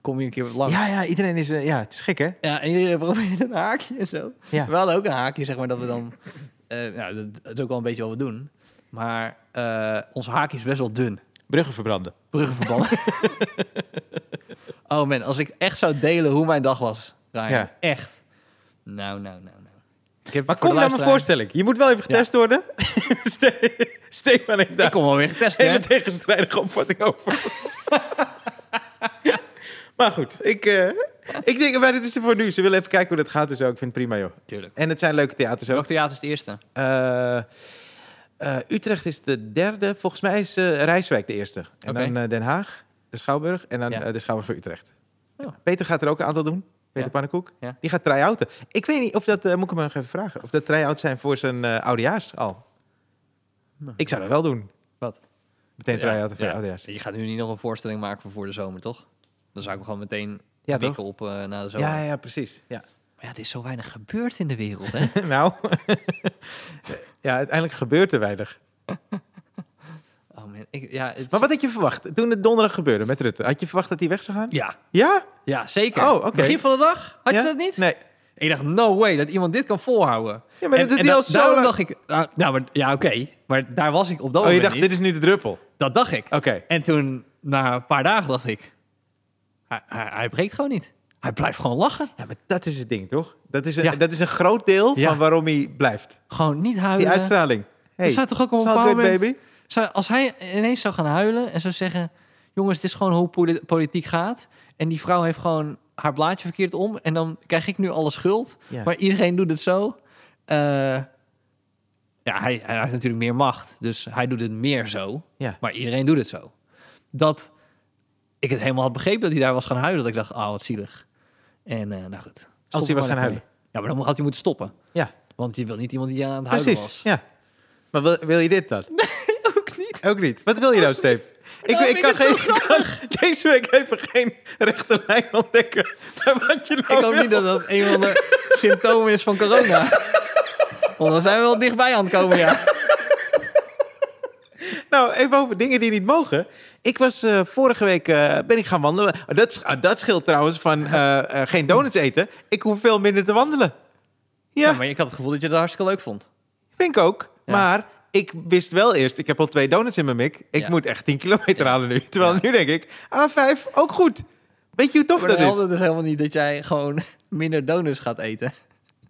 [SPEAKER 2] Kom je een keer wat langs?
[SPEAKER 1] Ja, ja, iedereen is... eh, ja, het is gek, hè?
[SPEAKER 2] Ja, en jullie proberen een haakje en zo.
[SPEAKER 1] Ja.
[SPEAKER 2] We hadden ook een haakje, zeg maar, dat we dan... eh nou, dat, dat is ook wel een beetje wat we doen. Maar eh, ons haakje is best wel dun.
[SPEAKER 1] Bruggen verbranden.
[SPEAKER 2] Bruggenverband. oh man, als ik echt zou delen hoe mijn dag was, Ryan.
[SPEAKER 1] Ja.
[SPEAKER 2] Echt. Nou, nou, nou, nou. Ik heb
[SPEAKER 1] Maar
[SPEAKER 2] voor
[SPEAKER 1] kom
[SPEAKER 2] de
[SPEAKER 1] naar mijn
[SPEAKER 2] luisteraar-
[SPEAKER 1] voorstelling. Je moet wel even getest worden. Ste- Stefan heeft
[SPEAKER 2] Ik
[SPEAKER 1] daar
[SPEAKER 2] kom wel weer getest,
[SPEAKER 1] een
[SPEAKER 2] hè?
[SPEAKER 1] hele tegenstrijdige opvatting over. maar goed, ik, eh, ik denk, maar dit is er voor nu. Ze willen even kijken hoe dat gaat en zo. Ik vind het prima, joh.
[SPEAKER 2] Tuurlijk.
[SPEAKER 1] En het zijn leuke theaters ook.
[SPEAKER 2] Welk theater is het eerste?
[SPEAKER 1] Eh, eh, Utrecht is de derde. Volgens mij is eh, Rijswijk de eerste. En
[SPEAKER 2] Oké.
[SPEAKER 1] dan eh, Den Haag, de Schouwburg en dan
[SPEAKER 2] Ja.
[SPEAKER 1] eh, de Schouwburg voor Utrecht.
[SPEAKER 2] Ja.
[SPEAKER 1] Peter gaat er ook een aantal doen. Peter
[SPEAKER 2] Ja.
[SPEAKER 1] Pannenkoek.
[SPEAKER 2] Ja.
[SPEAKER 1] Die gaat try-outen. Ik weet niet of dat, eh, moet ik hem nog even vragen, of dat try-outs zijn voor zijn eh, oudejaars al.
[SPEAKER 2] Nou.
[SPEAKER 1] Ik zou dat wel doen.
[SPEAKER 2] Wat?
[SPEAKER 1] Meteen try-outen voor
[SPEAKER 2] ja.
[SPEAKER 1] je oudejaars.
[SPEAKER 2] Je gaat nu niet nog een voorstelling maken voor voor de zomer, toch? Dan zou ik hem gewoon meteen
[SPEAKER 1] Ja,
[SPEAKER 2] ja,
[SPEAKER 1] toch?
[SPEAKER 2] op eh, na de zomer.
[SPEAKER 1] Ja, ja, precies. Ja.
[SPEAKER 2] Maar ja, er is zo weinig gebeurd in de wereld, hè?
[SPEAKER 1] nou, ja, uiteindelijk gebeurt er weinig.
[SPEAKER 2] Oh man, ik, ja, het-
[SPEAKER 1] Maar wat had je verwacht toen het donderdag gebeurde met Rutte? Had je verwacht dat hij weg zou gaan?
[SPEAKER 2] Ja,
[SPEAKER 1] Ja?
[SPEAKER 2] ja zeker.
[SPEAKER 1] Oh, oké.
[SPEAKER 2] Begin van de dag? Had
[SPEAKER 1] Ja?
[SPEAKER 2] je dat niet?
[SPEAKER 1] Nee.
[SPEAKER 2] Ik dacht, no way, dat iemand dit kan volhouden.
[SPEAKER 1] Ja, maar dat doet hij al zo
[SPEAKER 2] daarom
[SPEAKER 1] lang.
[SPEAKER 2] dacht ik, nou, nou, maar, ja, oké. Maar daar was ik op dat
[SPEAKER 1] Oh, je
[SPEAKER 2] moment
[SPEAKER 1] dacht,
[SPEAKER 2] niet.
[SPEAKER 1] dit is nu de druppel.
[SPEAKER 2] Dat dacht ik.
[SPEAKER 1] Oké.
[SPEAKER 2] En toen, na een paar dagen, dacht ik, hij, hij, hij breekt gewoon niet. Hij blijft gewoon lachen.
[SPEAKER 1] Ja, maar dat is het ding, toch? Dat is een,
[SPEAKER 2] Ja.
[SPEAKER 1] dat is een groot deel
[SPEAKER 2] Ja.
[SPEAKER 1] van waarom hij blijft.
[SPEAKER 2] Gewoon niet huilen.
[SPEAKER 1] Die uitstraling. Hey,
[SPEAKER 2] dat zou toch ook op een
[SPEAKER 1] it's all
[SPEAKER 2] bepaald
[SPEAKER 1] good,
[SPEAKER 2] moment...
[SPEAKER 1] baby.
[SPEAKER 2] Zou, als hij ineens zou gaan huilen en zou zeggen... jongens, dit is gewoon hoe poli- politiek gaat. En die vrouw heeft gewoon haar blaadje verkeerd om. En dan krijg ik nu alle schuld.
[SPEAKER 1] Ja.
[SPEAKER 2] Maar iedereen doet het zo. Eh, ja, hij, hij heeft natuurlijk meer macht. Dus hij doet het meer zo.
[SPEAKER 1] Ja.
[SPEAKER 2] Maar iedereen doet het zo. Dat ik het helemaal had begrepen dat hij daar was gaan huilen. Dat ik dacht, ah, wat zielig. En eh, nou goed.
[SPEAKER 1] hij
[SPEAKER 2] Stop
[SPEAKER 1] was
[SPEAKER 2] er maar
[SPEAKER 1] gaan
[SPEAKER 2] even mee. Ja, maar dan had hij moeten stoppen.
[SPEAKER 1] Ja,
[SPEAKER 2] Want je wil niet iemand die aan het huilen
[SPEAKER 1] precies.
[SPEAKER 2] Nou,
[SPEAKER 1] Ja.
[SPEAKER 2] was.
[SPEAKER 1] Maar wil, wil je dit dan?
[SPEAKER 2] Ook niet.
[SPEAKER 1] Ook niet. Wat wil je nou, Steve? Ik,
[SPEAKER 2] vind ik het zo
[SPEAKER 1] ik kan deze week even geen rechte lijn ontdekken. bij wat je nou
[SPEAKER 2] Ik hoop
[SPEAKER 1] wil.
[SPEAKER 2] niet dat dat een van de symptomen is van corona. Want dan zijn we wel dichtbij aan het komen, ja.
[SPEAKER 1] Nou, even over dingen die niet mogen. Ik was eh, vorige week eh, ben ik gaan wandelen. Ah, Dat, sch- ah, dat scheelt trouwens van eh, eh, geen donuts eten. Ik hoef veel minder te wandelen.
[SPEAKER 2] Ja,
[SPEAKER 1] Ja,
[SPEAKER 2] Maar ik had het gevoel dat je het hartstikke leuk vond.
[SPEAKER 1] vind ik ook.
[SPEAKER 2] Ja.
[SPEAKER 1] Maar ik wist wel eerst, ik heb al twee donuts in mijn mik. Ik
[SPEAKER 2] Ja.
[SPEAKER 1] moet echt 10 kilometer
[SPEAKER 2] Ja.
[SPEAKER 1] halen nu. Terwijl
[SPEAKER 2] Ja.
[SPEAKER 1] nu denk ik, A5, ook goed. Weet je hoe tof
[SPEAKER 2] Maar
[SPEAKER 1] dat
[SPEAKER 2] dat
[SPEAKER 1] is?
[SPEAKER 2] helder dus helemaal niet dat jij gewoon minder donuts gaat eten.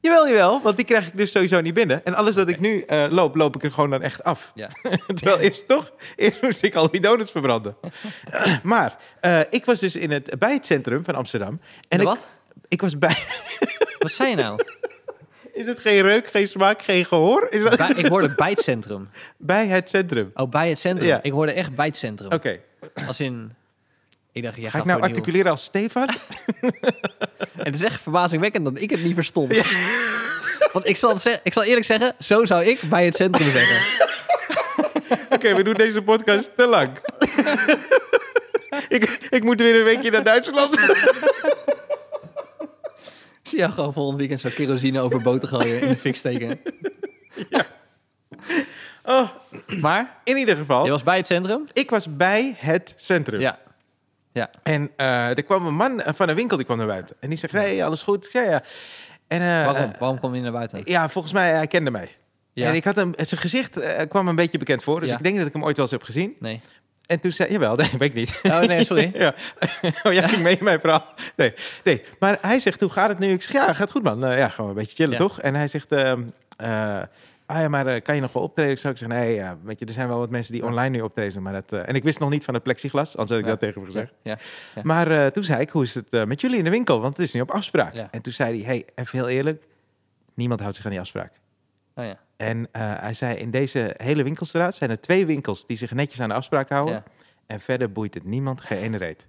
[SPEAKER 1] Jawel, jawel, want die krijg ik dus sowieso niet binnen. En alles dat ik nu eh, loop, loop ik er gewoon dan echt af.
[SPEAKER 2] Ja.
[SPEAKER 1] Terwijl eerst toch, eerst moest ik al die donuts verbranden. maar eh, ik was dus in het, bij het centrum van Amsterdam.
[SPEAKER 2] En
[SPEAKER 1] ik,
[SPEAKER 2] wat?
[SPEAKER 1] Ik was bij...
[SPEAKER 2] Wat zei je nou?
[SPEAKER 1] Is het geen reuk, geen smaak, geen gehoor? Is dat...
[SPEAKER 2] Bij- ik hoorde bij het centrum.
[SPEAKER 1] Bij het centrum.
[SPEAKER 2] Oh, bij het centrum.
[SPEAKER 1] Ja.
[SPEAKER 2] Ik hoorde echt bij het centrum.
[SPEAKER 1] Oké,
[SPEAKER 2] Als in... Ik dacht, jij
[SPEAKER 1] ga
[SPEAKER 2] gaat
[SPEAKER 1] ik nou
[SPEAKER 2] voor nieuw.
[SPEAKER 1] articuleren als Stefan?
[SPEAKER 2] En het is echt verbazingwekkend dat ik het niet verstond. Want ik zal, het ze- ik zal eerlijk zeggen, zo zou ik bij het centrum zeggen.
[SPEAKER 1] Oké, we doen deze podcast te lang. ik, ik moet weer een weekje naar Duitsland.
[SPEAKER 2] Ik zie jou gewoon volgend weekend zo kerosine over boter gooien in de fik steken.
[SPEAKER 1] Oh,
[SPEAKER 2] Maar
[SPEAKER 1] in ieder geval,
[SPEAKER 2] Je was bij het centrum?
[SPEAKER 1] ik was bij het centrum.
[SPEAKER 2] Oh. Ja. Ja.
[SPEAKER 1] En eh, er kwam een man eh, van een winkel, die kwam naar buiten. En die zegt, hey, alles goed? Ik zei, ja. En, eh,
[SPEAKER 2] Waarom? Waarom kom je naar buiten?
[SPEAKER 1] Ja, volgens mij, hij kende mij.
[SPEAKER 2] Ja.
[SPEAKER 1] En ik had hem, zijn gezicht eh, kwam een beetje bekend voor. Dus
[SPEAKER 2] Ja.
[SPEAKER 1] ik denk dat ik hem ooit wel eens heb gezien.
[SPEAKER 2] Nee.
[SPEAKER 1] En toen zei jawel, nee, weet ik niet.
[SPEAKER 2] Oh, nee, sorry.
[SPEAKER 1] ja. Oh, jij ging mee in mijn verhaal. Nee, nee. Maar Nou hij zegt, hoe gaat het nu? Ik zeg, ja, gaat goed man. Eh, ja, gewoon een beetje chillen,
[SPEAKER 2] Ja.
[SPEAKER 1] toch? En hij zegt, ehm, eh, ah ja, maar eh, kan je nog wel optreden? Ik zou ik zeggen, nee, ja, weet je, er zijn wel wat mensen die online nu optreden. Maar dat, eh, en ik wist nog niet van het plexiglas, anders had ik
[SPEAKER 2] Ja.
[SPEAKER 1] dat tegen hem gezegd.
[SPEAKER 2] Ja, ja.
[SPEAKER 1] Maar eh, toen zei ik, hoe is het eh, met jullie in de winkel? Want het is nu op afspraak.
[SPEAKER 2] Ja.
[SPEAKER 1] En toen zei hij, hey, even heel eerlijk, niemand houdt zich aan die afspraak.
[SPEAKER 2] Oh, ja.
[SPEAKER 1] En eh, hij zei, in deze hele winkelstraat zijn er twee winkels die zich netjes aan de afspraak houden.
[SPEAKER 2] Ja.
[SPEAKER 1] En verder boeit het niemand geen ene reet.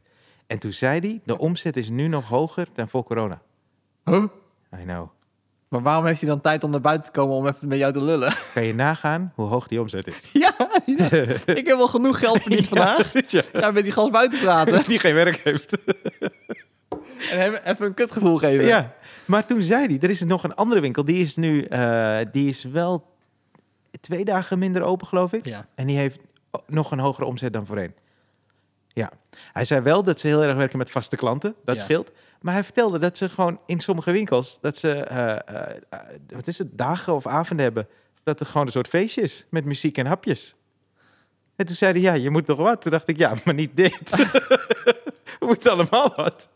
[SPEAKER 1] En toen zei hij, de omzet is nu nog hoger dan voor corona.
[SPEAKER 2] Huh?
[SPEAKER 1] I know.
[SPEAKER 2] Maar waarom heeft hij dan tijd om naar buiten te komen om even met jou te lullen?
[SPEAKER 1] Kan je nagaan hoe hoog die omzet is?
[SPEAKER 2] ja, ik heb wel genoeg geld verdiend vandaag.
[SPEAKER 1] zit je.
[SPEAKER 2] Ga met die gast buiten praten
[SPEAKER 1] Die geen werk heeft.
[SPEAKER 2] en hem even een kutgevoel geven.
[SPEAKER 1] Ja. Maar toen zei hij, er is nog een andere winkel. Die is nu, eh, die is wel twee dagen minder open, geloof ik.
[SPEAKER 2] Ja.
[SPEAKER 1] En die heeft o- nog een hogere omzet dan voorheen. Ja. Hij zei wel dat ze heel erg werken met vaste klanten. Dat
[SPEAKER 2] Ja.
[SPEAKER 1] scheelt. Maar hij vertelde dat ze gewoon in sommige winkels... dat ze, eh, eh, eh, wat is het, dagen of avonden hebben... dat het gewoon een soort feestje is met muziek en hapjes. En toen zei hij, ja, je moet toch wat? Toen dacht ik, ja, maar niet dit. We moeten allemaal wat.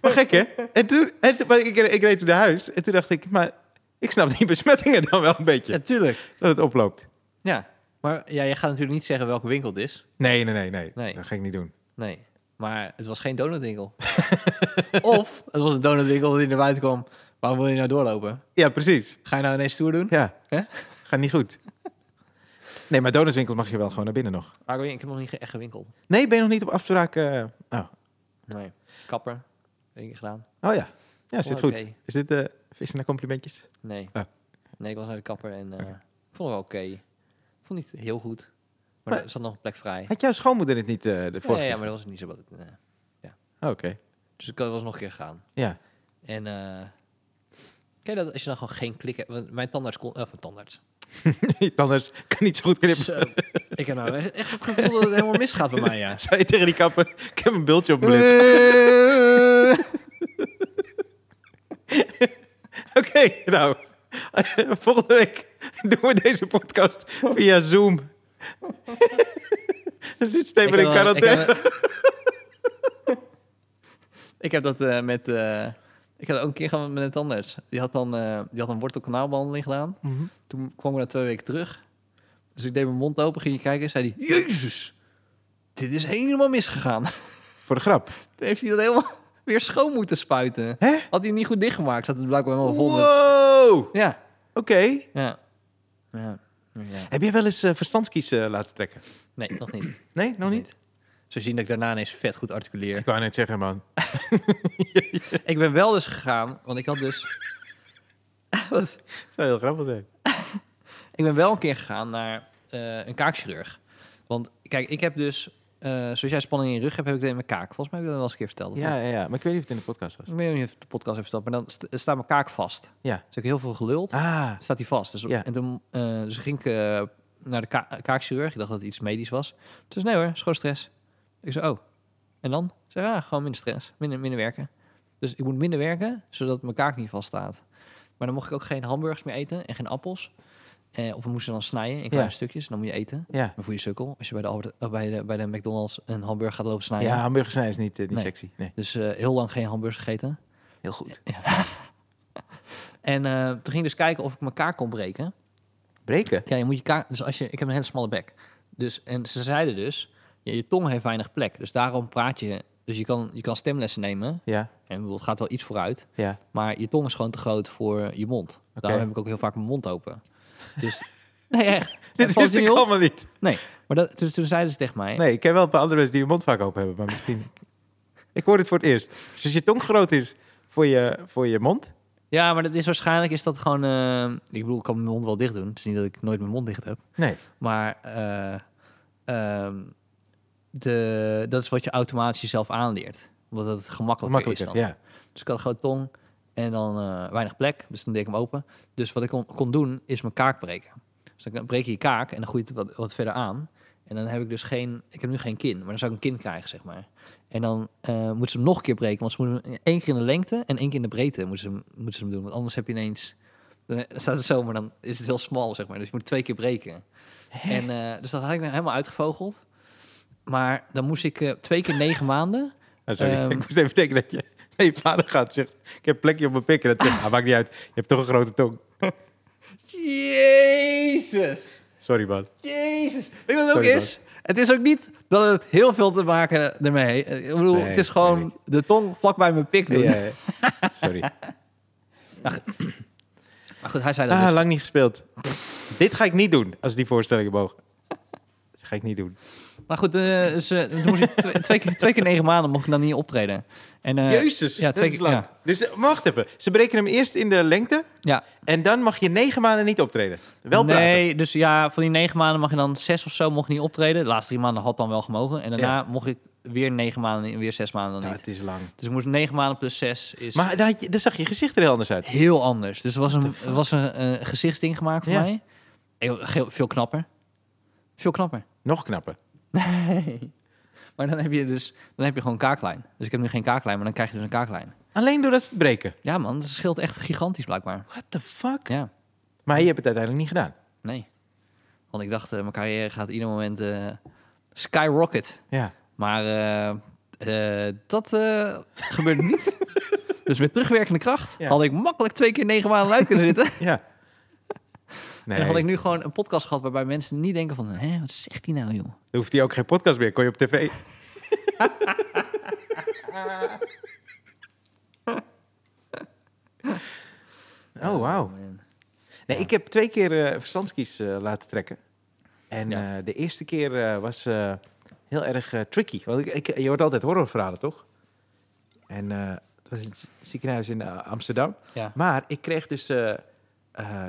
[SPEAKER 1] Maar gek, hè? En toen, en toen- maar ik, ik reed toen naar huis en toen dacht ik, maar ik snap die besmettingen dan wel een beetje.
[SPEAKER 2] natuurlijk.
[SPEAKER 1] Dat het oploopt.
[SPEAKER 2] Ja, maar ja, jij gaat natuurlijk niet zeggen welke winkel het is.
[SPEAKER 1] Nee, nee, nee, nee.
[SPEAKER 2] Nee.
[SPEAKER 1] Dat ga ik niet doen.
[SPEAKER 2] Nee, maar het was geen donutwinkel. of het was een donutwinkel dat hij naar buiten kwam. Waarom wil je nou doorlopen?
[SPEAKER 1] Ja, precies.
[SPEAKER 2] Ga je nou ineens stoer doen?
[SPEAKER 1] Ja.
[SPEAKER 2] Hè?
[SPEAKER 1] Gaat niet goed. Nee, maar donutswinkels mag je wel gewoon naar binnen nog.
[SPEAKER 2] Maar ik weet- ik heb nog niet ge- echt gewinkeld.
[SPEAKER 1] Nee, ben je nog niet op afspraak? eh, oh.
[SPEAKER 2] Nee. Kapper. Heb ik niet gedaan.
[SPEAKER 1] oh ja. Ja, zit
[SPEAKER 2] Oh,
[SPEAKER 1] goed.
[SPEAKER 2] oké.
[SPEAKER 1] Is dit eh vissen naar complimentjes?
[SPEAKER 2] Nee.
[SPEAKER 1] Ah.
[SPEAKER 2] Nee, ik was naar de kapper en eh, ik vond het wel oké. Ik vond het niet heel goed. Maar,
[SPEAKER 1] Maar-
[SPEAKER 2] er zat nog een plek vrij.
[SPEAKER 1] Had jouw schoonmoeder het niet eh, de
[SPEAKER 2] Ja,
[SPEAKER 1] vorige
[SPEAKER 2] ja,
[SPEAKER 1] keer?
[SPEAKER 2] maar dat was niet zo wat. nee.
[SPEAKER 1] Oh, Oké.
[SPEAKER 2] Dus ik was nog een keer gegaan.
[SPEAKER 1] Ja.
[SPEAKER 2] En eh ken je dat als je dan gewoon geen klik hebt? Want mijn tandarts kon... eh, Of mijn tandarts.
[SPEAKER 1] Je Tandarts kan niet zo goed knippen.
[SPEAKER 2] Zo. ik heb nou echt het gevoel dat het helemaal misgaat bij mij, ja.
[SPEAKER 1] Zei je tegen die kapper, ik heb een bultje op mijn lip. Oké, nou. Volgende week doen we deze podcast via Zoom. Dan zit Steven in
[SPEAKER 2] Ik heb
[SPEAKER 1] quarantaine.
[SPEAKER 2] dat- Ik heb, ik heb dat eh, met... eh, ik had ook een keer gehad met een tandarts. Die had dan eh, die had een wortelkanaalbehandeling gedaan.
[SPEAKER 1] Mhm.
[SPEAKER 2] Toen kwam ik na twee weken terug. Dus ik deed mijn mond open, ging je kijken. Zei hij, jezus, dit is helemaal misgegaan.
[SPEAKER 1] Voor de grap.
[SPEAKER 2] Toen heeft hij dat helemaal weer schoon moeten spuiten.
[SPEAKER 1] Hè?
[SPEAKER 2] Had hij niet goed dichtgemaakt, zat het blijkbaar helemaal vol. met-
[SPEAKER 1] Wow! Oké.
[SPEAKER 2] Ja, ja. Ja. ja.
[SPEAKER 1] Heb jij wel eens eh, verstandskies eh, laten trekken?
[SPEAKER 2] Nee, nog niet.
[SPEAKER 1] Nee, nog niet?
[SPEAKER 2] Zo zien dat ik daarna ineens vet goed articuleer.
[SPEAKER 1] Ik wou net zeggen, man.
[SPEAKER 2] ik ben wel dus gegaan, want ik had dus... Wat?
[SPEAKER 1] Dat zou heel grappig zijn.
[SPEAKER 2] ik ben wel een keer gegaan naar eh, een kaakchirurg. Want kijk, ik heb dus... eh, zoals jij spanning in je rug hebt, heb ik dat in mijn kaak. Volgens mij heb ik dat wel eens een keer verteld. of
[SPEAKER 1] Ja,
[SPEAKER 2] niet?
[SPEAKER 1] ja, ja, maar ik weet niet of het in de podcast was.
[SPEAKER 2] Ik weet niet of ik de podcast heeft verteld, maar dan st- staat mijn kaak vast.
[SPEAKER 1] Ja.
[SPEAKER 2] Dus ik heb heel veel geluld.
[SPEAKER 1] Ah,
[SPEAKER 2] staat hij vast. Dus,
[SPEAKER 1] Ja.
[SPEAKER 2] en toen, eh, dus ging ik eh, naar de ka- kaakchirurg. Ik dacht dat het iets medisch was. Dus nee hoor, is gewoon stress. Ik zei, oh. En dan? Ik zei, ah, gewoon minder stress. Minder, minder werken. Dus ik moet minder werken, zodat mijn kaak niet vaststaat. Maar dan mocht ik ook geen hamburgers meer eten en geen appels. Eh, of we moesten dan snijden in kleine stukjes. Dan moet je eten.
[SPEAKER 1] ja.
[SPEAKER 2] Maar voor je sukkel, als je bij de, Albert- eh, bij de, bij de McDonald's een hamburger gaat lopen snijden.
[SPEAKER 1] Ja, hamburgers zijn is niet, eh, niet
[SPEAKER 2] Ah, Nee.
[SPEAKER 1] sexy. Nee,
[SPEAKER 2] Dus eh, heel lang geen hamburgers gegeten.
[SPEAKER 1] heel goed.
[SPEAKER 2] En eh, toen ging ik dus kijken of ik mijn kaak kon breken.
[SPEAKER 1] Breken?
[SPEAKER 2] Ja, je moet je kaak. Dus als je, ik heb een hele smalle bek. Dus, en ze zeiden dus, je, je tong heeft weinig plek. Dus daarom praat je. Dus je kan, je kan stemlessen nemen. En
[SPEAKER 1] Ja,
[SPEAKER 2] ik bedoel, het gaat wel iets vooruit.
[SPEAKER 1] ja.
[SPEAKER 2] Maar je tong is gewoon te groot voor je mond. Daarom heb ik ook heel vaak mijn mond open. Dus. nee, echt.
[SPEAKER 1] Dit
[SPEAKER 2] Het valt
[SPEAKER 1] wist
[SPEAKER 2] je
[SPEAKER 1] ik
[SPEAKER 2] niet op.
[SPEAKER 1] allemaal niet.
[SPEAKER 2] Nee. Maar dat, dus toen zeiden ze tegen mij.
[SPEAKER 1] Nee, ik ken wel een paar andere mensen die hun mond vaak open hebben, maar misschien... ik hoor het voor het eerst. Dus als je tong groot is voor je, voor je mond...
[SPEAKER 2] Ja, maar dat is waarschijnlijk is dat gewoon. eh, ik bedoel, ik kan mijn mond wel dicht doen. Het is niet dat ik nooit mijn mond dicht heb.
[SPEAKER 1] Nee.
[SPEAKER 2] Maar eh, ehm, de, dat is wat je automatisch jezelf aanleert. Omdat het gemakkelijker,
[SPEAKER 1] Makkelijker,
[SPEAKER 2] is dan.
[SPEAKER 1] ja.
[SPEAKER 2] Dus ik had gewoon tong en dan eh, weinig plek. Dus dan deed ik hem open. Dus wat ik kon, kon doen, is mijn kaak breken. Dus dan breek je je kaak en dan groeit het wat, wat verder aan. En dan heb ik dus geen... Ik heb nu geen kin, maar dan zou ik een kin krijgen, zeg maar. En dan eh moeten ze hem nog een keer breken. Want ze moeten hem één keer in de lengte en één keer in de breedte moeten ze hem, moeten ze hem doen. Want anders heb je ineens... Dan staat het zo, maar dan is het heel smal, zeg maar. Dus je moet twee keer breken. En, eh, dus dat had ik me helemaal uitgevogeld. Maar dan moest ik eh, twee keer negen maanden...
[SPEAKER 1] Ah, sorry,
[SPEAKER 2] Ehm.
[SPEAKER 1] ik moest even denken dat je naar je vader gaat en zegt... Ik heb plekje op mijn pik en dat zegt... Ah, maakt niet uit, je hebt toch een grote tong.
[SPEAKER 2] Jezus.
[SPEAKER 1] Sorry, man.
[SPEAKER 2] Jezus. Weet je wat het ook
[SPEAKER 1] Sorry,
[SPEAKER 2] is? Het is ook niet dat het heel veel te maken ermee. Eh, Ik bedoel,
[SPEAKER 1] Nee,
[SPEAKER 2] het is gewoon
[SPEAKER 1] nee.
[SPEAKER 2] de tong vlak bij mijn pik doen.
[SPEAKER 1] Ja, ja. eh, Sorry.
[SPEAKER 2] Maar goed, hij zei dat
[SPEAKER 1] Ah,
[SPEAKER 2] dus.
[SPEAKER 1] lang niet gespeeld. Dit ga ik niet doen als die voorstellingen mogen. Dat ga ik niet doen.
[SPEAKER 2] Maar goed, eh, dus, eh, toen moest ik twee, twee, keer, twee keer negen maanden mocht ik dan niet optreden. En, eh,
[SPEAKER 1] Jezus,
[SPEAKER 2] ja, twee
[SPEAKER 1] dat is
[SPEAKER 2] keer-
[SPEAKER 1] lang.
[SPEAKER 2] ja.
[SPEAKER 1] Dus eh, maar wacht even. Ze breken hem eerst in de lengte
[SPEAKER 2] Ja.
[SPEAKER 1] en dan mag je negen maanden niet optreden. Wel praten.
[SPEAKER 2] nee, dus ja, van die negen maanden mag je dan zes of zo mocht niet optreden. De laatste drie maanden had dan wel gemogen. En daarna mocht ik weer negen maanden en weer zes maanden dan
[SPEAKER 1] Nou,
[SPEAKER 2] niet.
[SPEAKER 1] het is lang.
[SPEAKER 2] Dus ik moest negen maanden plus zes is
[SPEAKER 1] Maar daar, had je- daar zag je gezicht er heel anders uit.
[SPEAKER 2] heel anders. Dus er was een, er was een, eh, gezichtsding gemaakt voor
[SPEAKER 1] Ja.
[SPEAKER 2] mij. Heel, heel- veel knapper. Veel knapper.
[SPEAKER 1] Nog knapper.
[SPEAKER 2] Nee. Maar dan heb je dus dan heb je gewoon kaaklijn. Dus ik heb nu geen kaaklijn, maar dan krijg je dus een kaaklijn.
[SPEAKER 1] Alleen doordat ze het breken.
[SPEAKER 2] Ja man, dat scheelt echt gigantisch blijkbaar.
[SPEAKER 1] What the fuck?
[SPEAKER 2] Ja,
[SPEAKER 1] Maar je hebt het uiteindelijk niet gedaan.
[SPEAKER 2] nee. Want ik dacht, eh, mijn carrière gaat ieder moment eh, skyrocket.
[SPEAKER 1] Ja.
[SPEAKER 2] Maar eh, eh, dat eh, gebeurde niet. Dus met terugwerkende kracht
[SPEAKER 1] Ja.
[SPEAKER 2] had ik makkelijk twee keer negen maanden uit kunnen zitten.
[SPEAKER 1] Ja. Nee,
[SPEAKER 2] En dan had ik nu gewoon een podcast gehad waarbij mensen niet denken van... Hé, wat zegt hij nou, joh?
[SPEAKER 1] dan hoeft hij ook geen podcast meer. Kon je op tv. oh, wauw.
[SPEAKER 2] man.
[SPEAKER 1] Nee, ik heb twee keer eh, verstandskies eh, laten trekken. En
[SPEAKER 2] Ja.
[SPEAKER 1] eh, de eerste keer eh, was eh, heel erg eh, tricky. Want ik, ik, je hoort altijd horrorverhalen, toch? En eh, het was in het ziekenhuis in eh, Amsterdam.
[SPEAKER 2] Ja.
[SPEAKER 1] Maar ik kreeg dus eh, eh,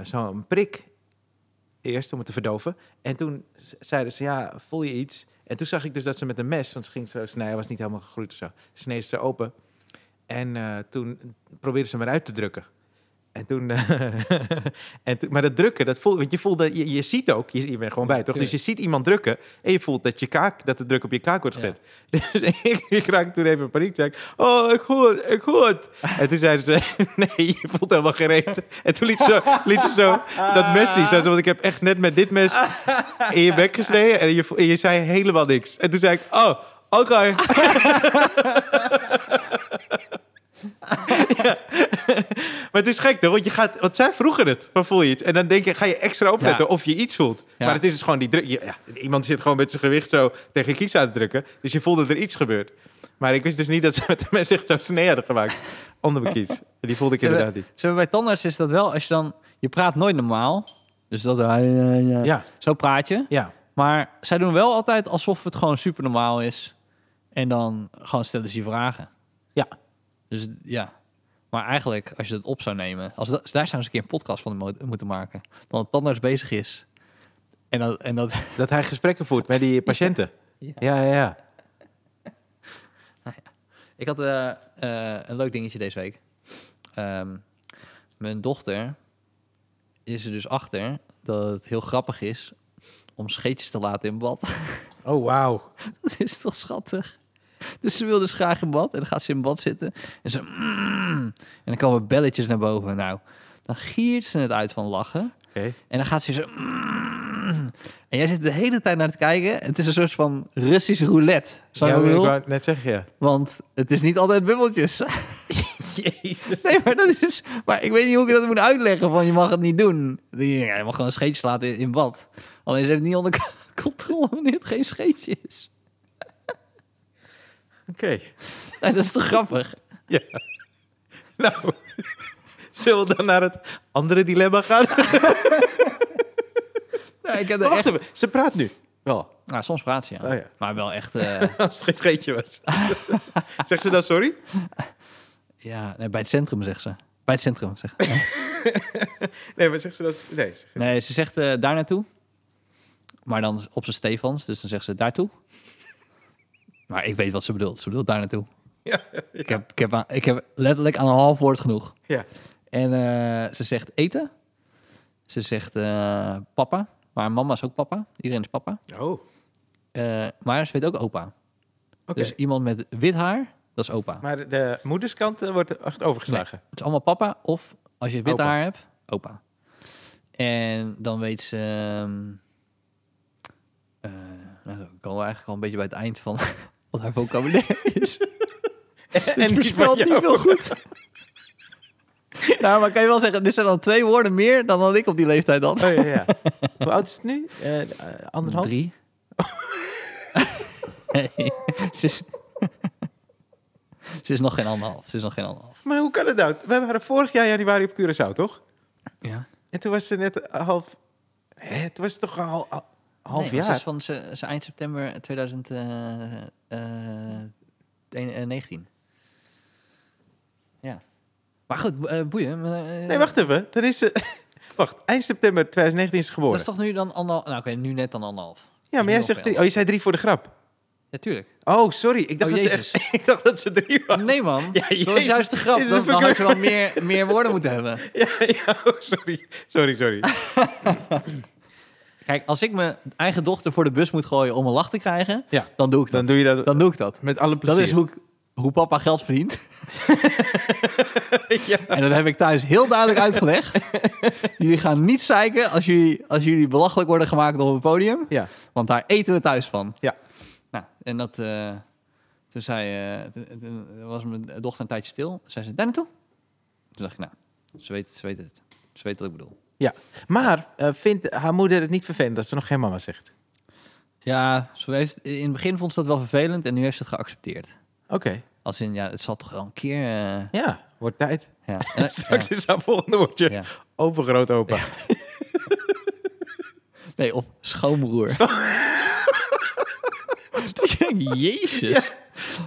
[SPEAKER 1] zo'n prik eerst om het te verdoven. En toen z- zeiden ze, ja, voel je iets? En toen zag ik dus dat ze met een mes, want ze ging zo snijden, was niet helemaal gegroeid of zo, sneed ze open. En eh, toen probeerde ze me eruit te drukken. En toen, eh, en toen- maar dat drukken, dat voel, want je voelt dat je, je ziet ook, je, je bent gewoon bij, toch? Dus je
[SPEAKER 2] Tuurlijk.
[SPEAKER 1] ziet iemand drukken en je voelt dat je kaak, dat de druk op je kaak wordt
[SPEAKER 2] Ja.
[SPEAKER 1] gezet. Dus ik, ik raakte toen even in paniek. Zei ik, oh, ik hoor het, ik hoor het. En toen zeiden ze, nee, je voelt helemaal geen reet. En toen liet ze, liet ze zo dat mes zien. Zei ze, want ik heb echt net met dit mes in je bek gesneden. En je, vo- en je zei helemaal niks. En toen zei ik, oh, oké. Ja. Maar het is gek, toch? Want, je gaat, want zij vroegen het, van voel je iets? En dan denk je, ga je extra opletten
[SPEAKER 2] Ja.
[SPEAKER 1] of je iets voelt.
[SPEAKER 2] Ja.
[SPEAKER 1] Maar het is dus gewoon die druk. je- Ja, iemand zit gewoon met zijn gewicht zo tegen je kies aan te drukken. Dus je voelt dat er iets gebeurt. Maar ik wist dus niet dat ze met de mes echt zo'n snee hadden gemaakt onder mijn kies. En die voelde ik
[SPEAKER 2] Ze
[SPEAKER 1] inderdaad
[SPEAKER 2] hebben,
[SPEAKER 1] niet.
[SPEAKER 2] ze hebben bij tandarts is dat wel, als je dan... Je praat nooit normaal. Dus dat...
[SPEAKER 1] Ja,
[SPEAKER 2] Zo praat je.
[SPEAKER 1] ja.
[SPEAKER 2] Maar zij doen wel altijd alsof het gewoon super normaal is. En dan gewoon stellen ze je vragen.
[SPEAKER 1] Ja.
[SPEAKER 2] Dus ja. Maar eigenlijk, als je dat op zou nemen... Als dat, daar zou eens een keer een podcast van mo- moeten maken. Dan een tandarts bezig is. En dat... En dat
[SPEAKER 1] Dat hij gesprekken voert met die patiënten.
[SPEAKER 2] Ja.
[SPEAKER 1] Ja, ja, ja.
[SPEAKER 2] Ik had eh, eh, een leuk dingetje deze week. Ehm, mijn dochter is er dus achter dat het heel grappig is om scheetjes te laten in bad.
[SPEAKER 1] Oh, wauw.
[SPEAKER 2] dat is toch schattig? Dus ze wil dus graag in bad en dan gaat ze in bad zitten en ze... "Mm." en dan komen belletjes naar boven. Nou, dan giert ze het uit van lachen.
[SPEAKER 1] Oké.
[SPEAKER 2] En dan gaat ze zo... "Mm." En jij zit de hele tijd naar het kijken. Het is een soort van Russisch roulette. Zou
[SPEAKER 1] Ja,
[SPEAKER 2] je
[SPEAKER 1] ik
[SPEAKER 2] wat ik bedoel?
[SPEAKER 1] wou het net zeggen, ja.
[SPEAKER 2] Want het is niet altijd bubbeltjes. Jezus. Nee, maar dat is... Maar ik weet niet hoe ik dat moet uitleggen, van je mag het niet doen. Ja, Je mag gewoon een scheetje slaan in, in bad. Alleen ze heeft het niet onder c- controle wanneer het geen scheetje is.
[SPEAKER 1] Oké.
[SPEAKER 2] Nee, dat is toch grappig?
[SPEAKER 1] Ja. Nou, zullen we dan naar het andere dilemma gaan?
[SPEAKER 2] Nou, ik heb er
[SPEAKER 1] Wacht
[SPEAKER 2] echt...
[SPEAKER 1] even, ze praat nu. Wel,
[SPEAKER 2] Nou, soms praat ze, ja.
[SPEAKER 1] Oh, ja.
[SPEAKER 2] Maar wel echt... eh,
[SPEAKER 1] als het geen scheetje was. Zegt ze dan sorry?
[SPEAKER 2] ja, nee, bij het centrum, zegt ze. Bij het centrum, zegt ze.
[SPEAKER 1] Nee, maar zegt ze dat... Nee, ze-
[SPEAKER 2] Nee, ze zegt eh, daar naartoe. Maar dan op zijn Stefans, dus dan zegt ze daartoe. Maar ik weet wat ze bedoelt. Ze bedoelt daar naartoe.
[SPEAKER 1] ja, ja,
[SPEAKER 2] Ik heb, ik, heb aan- ik heb letterlijk aan een half woord genoeg.
[SPEAKER 1] ja.
[SPEAKER 2] En eh, ze zegt eten. Ze zegt eh, papa. Maar mama is ook papa. Iedereen is papa.
[SPEAKER 1] Oh, oké.
[SPEAKER 2] Eh, maar ze weet ook opa. Dus iemand met wit haar, dat is opa.
[SPEAKER 1] Maar de moederskant eh, wordt echt overgeslagen.
[SPEAKER 2] Het is allemaal papa. Of als je wit
[SPEAKER 1] Opa.
[SPEAKER 2] haar hebt, opa. En dan weet ze... ehm, eh, nou, dan komen we eigenlijk al een beetje bij het eind van wat haar vocabulaire is.
[SPEAKER 1] En
[SPEAKER 2] Het voorspelt niet veel goed. nou, maar kan je wel zeggen, dit zijn dan twee woorden meer dan dat ik op die leeftijd had.
[SPEAKER 1] Oh, ja, ja. Hoe oud is het nu? Eh, eh, anderhalf?
[SPEAKER 2] Drie. nee, ze is... ze is nog geen anderhalf. Ze is nog geen anderhalf.
[SPEAKER 1] Maar hoe kan het nou? We waren vorig jaar januari op Curaçao, toch?
[SPEAKER 2] Ja.
[SPEAKER 1] En toen was ze net half... Hè, het was toch al, al- half
[SPEAKER 2] nee, maar
[SPEAKER 1] jaar?
[SPEAKER 2] Ze is van ze, ze eind september eh, 2019. eh, Ja. Maar goed, eh, boeien. maar, eh,
[SPEAKER 1] Nee, wacht even. Dan is ze... Wacht, eind september 2019 is ze
[SPEAKER 2] Dat
[SPEAKER 1] geboren.
[SPEAKER 2] is toch nu dan anderhalf? Nou, oké, nu net dan anderhalf.
[SPEAKER 1] Ja, maar jij
[SPEAKER 2] nog
[SPEAKER 1] zegt
[SPEAKER 2] wel.
[SPEAKER 1] drie. Oh, je zei drie voor de grap.
[SPEAKER 2] Natuurlijk.
[SPEAKER 1] Oh, sorry. Ik dacht,
[SPEAKER 2] Oh,
[SPEAKER 1] dat, ze
[SPEAKER 2] Jezus.
[SPEAKER 1] echt- ik dacht dat ze drie was.
[SPEAKER 2] nee, man.
[SPEAKER 1] Ja,
[SPEAKER 2] dat was
[SPEAKER 1] jezus.
[SPEAKER 2] juist de grap.
[SPEAKER 1] Dit is
[SPEAKER 2] Dan,
[SPEAKER 1] een
[SPEAKER 2] dan had je wel
[SPEAKER 1] verkeerde-
[SPEAKER 2] meer, meer woorden moeten hebben.
[SPEAKER 1] Ja, ja, oh, sorry. Sorry, sorry.
[SPEAKER 2] Kijk, als ik mijn eigen dochter voor de bus moet gooien om een lach te krijgen,
[SPEAKER 1] Ja.
[SPEAKER 2] dan doe ik dat.
[SPEAKER 1] Dan doe je dat
[SPEAKER 2] Dan doe ik dat.
[SPEAKER 1] met alle
[SPEAKER 2] Dat
[SPEAKER 1] plezier.
[SPEAKER 2] is hoe, ik- hoe papa geld verdient.
[SPEAKER 1] Ja.
[SPEAKER 2] En dat heb ik thuis heel duidelijk uitgelegd. jullie gaan niet zeiken als jullie, als jullie belachelijk worden gemaakt op het podium.
[SPEAKER 1] Ja,
[SPEAKER 2] Want daar eten we thuis van.
[SPEAKER 1] Ja.
[SPEAKER 2] Nou, en dat... eh, toen zei... eh, toen- toen was mijn dochter een tijdje stil. Zei ze, daar naartoe? Toen dacht ik, nou, ze weet, het, ze weet het. Ze weet wat ik bedoel.
[SPEAKER 1] ja. Maar eh, vindt haar moeder het niet vervelend dat ze nog geen mama zegt?
[SPEAKER 2] Ja, ze heeft, in het begin vond ze dat wel vervelend en nu heeft ze het geaccepteerd.
[SPEAKER 1] Oké,
[SPEAKER 2] Als in, ja, het zal toch wel een keer... eh,
[SPEAKER 1] ja. Wordt tijd.
[SPEAKER 2] ja. En- eh,
[SPEAKER 1] Straks
[SPEAKER 2] ja,
[SPEAKER 1] is haar volgende woordje.
[SPEAKER 2] ja.
[SPEAKER 1] Overgroot opa.
[SPEAKER 2] Nee, of schoonbroer. Dat je denkt, Jezus.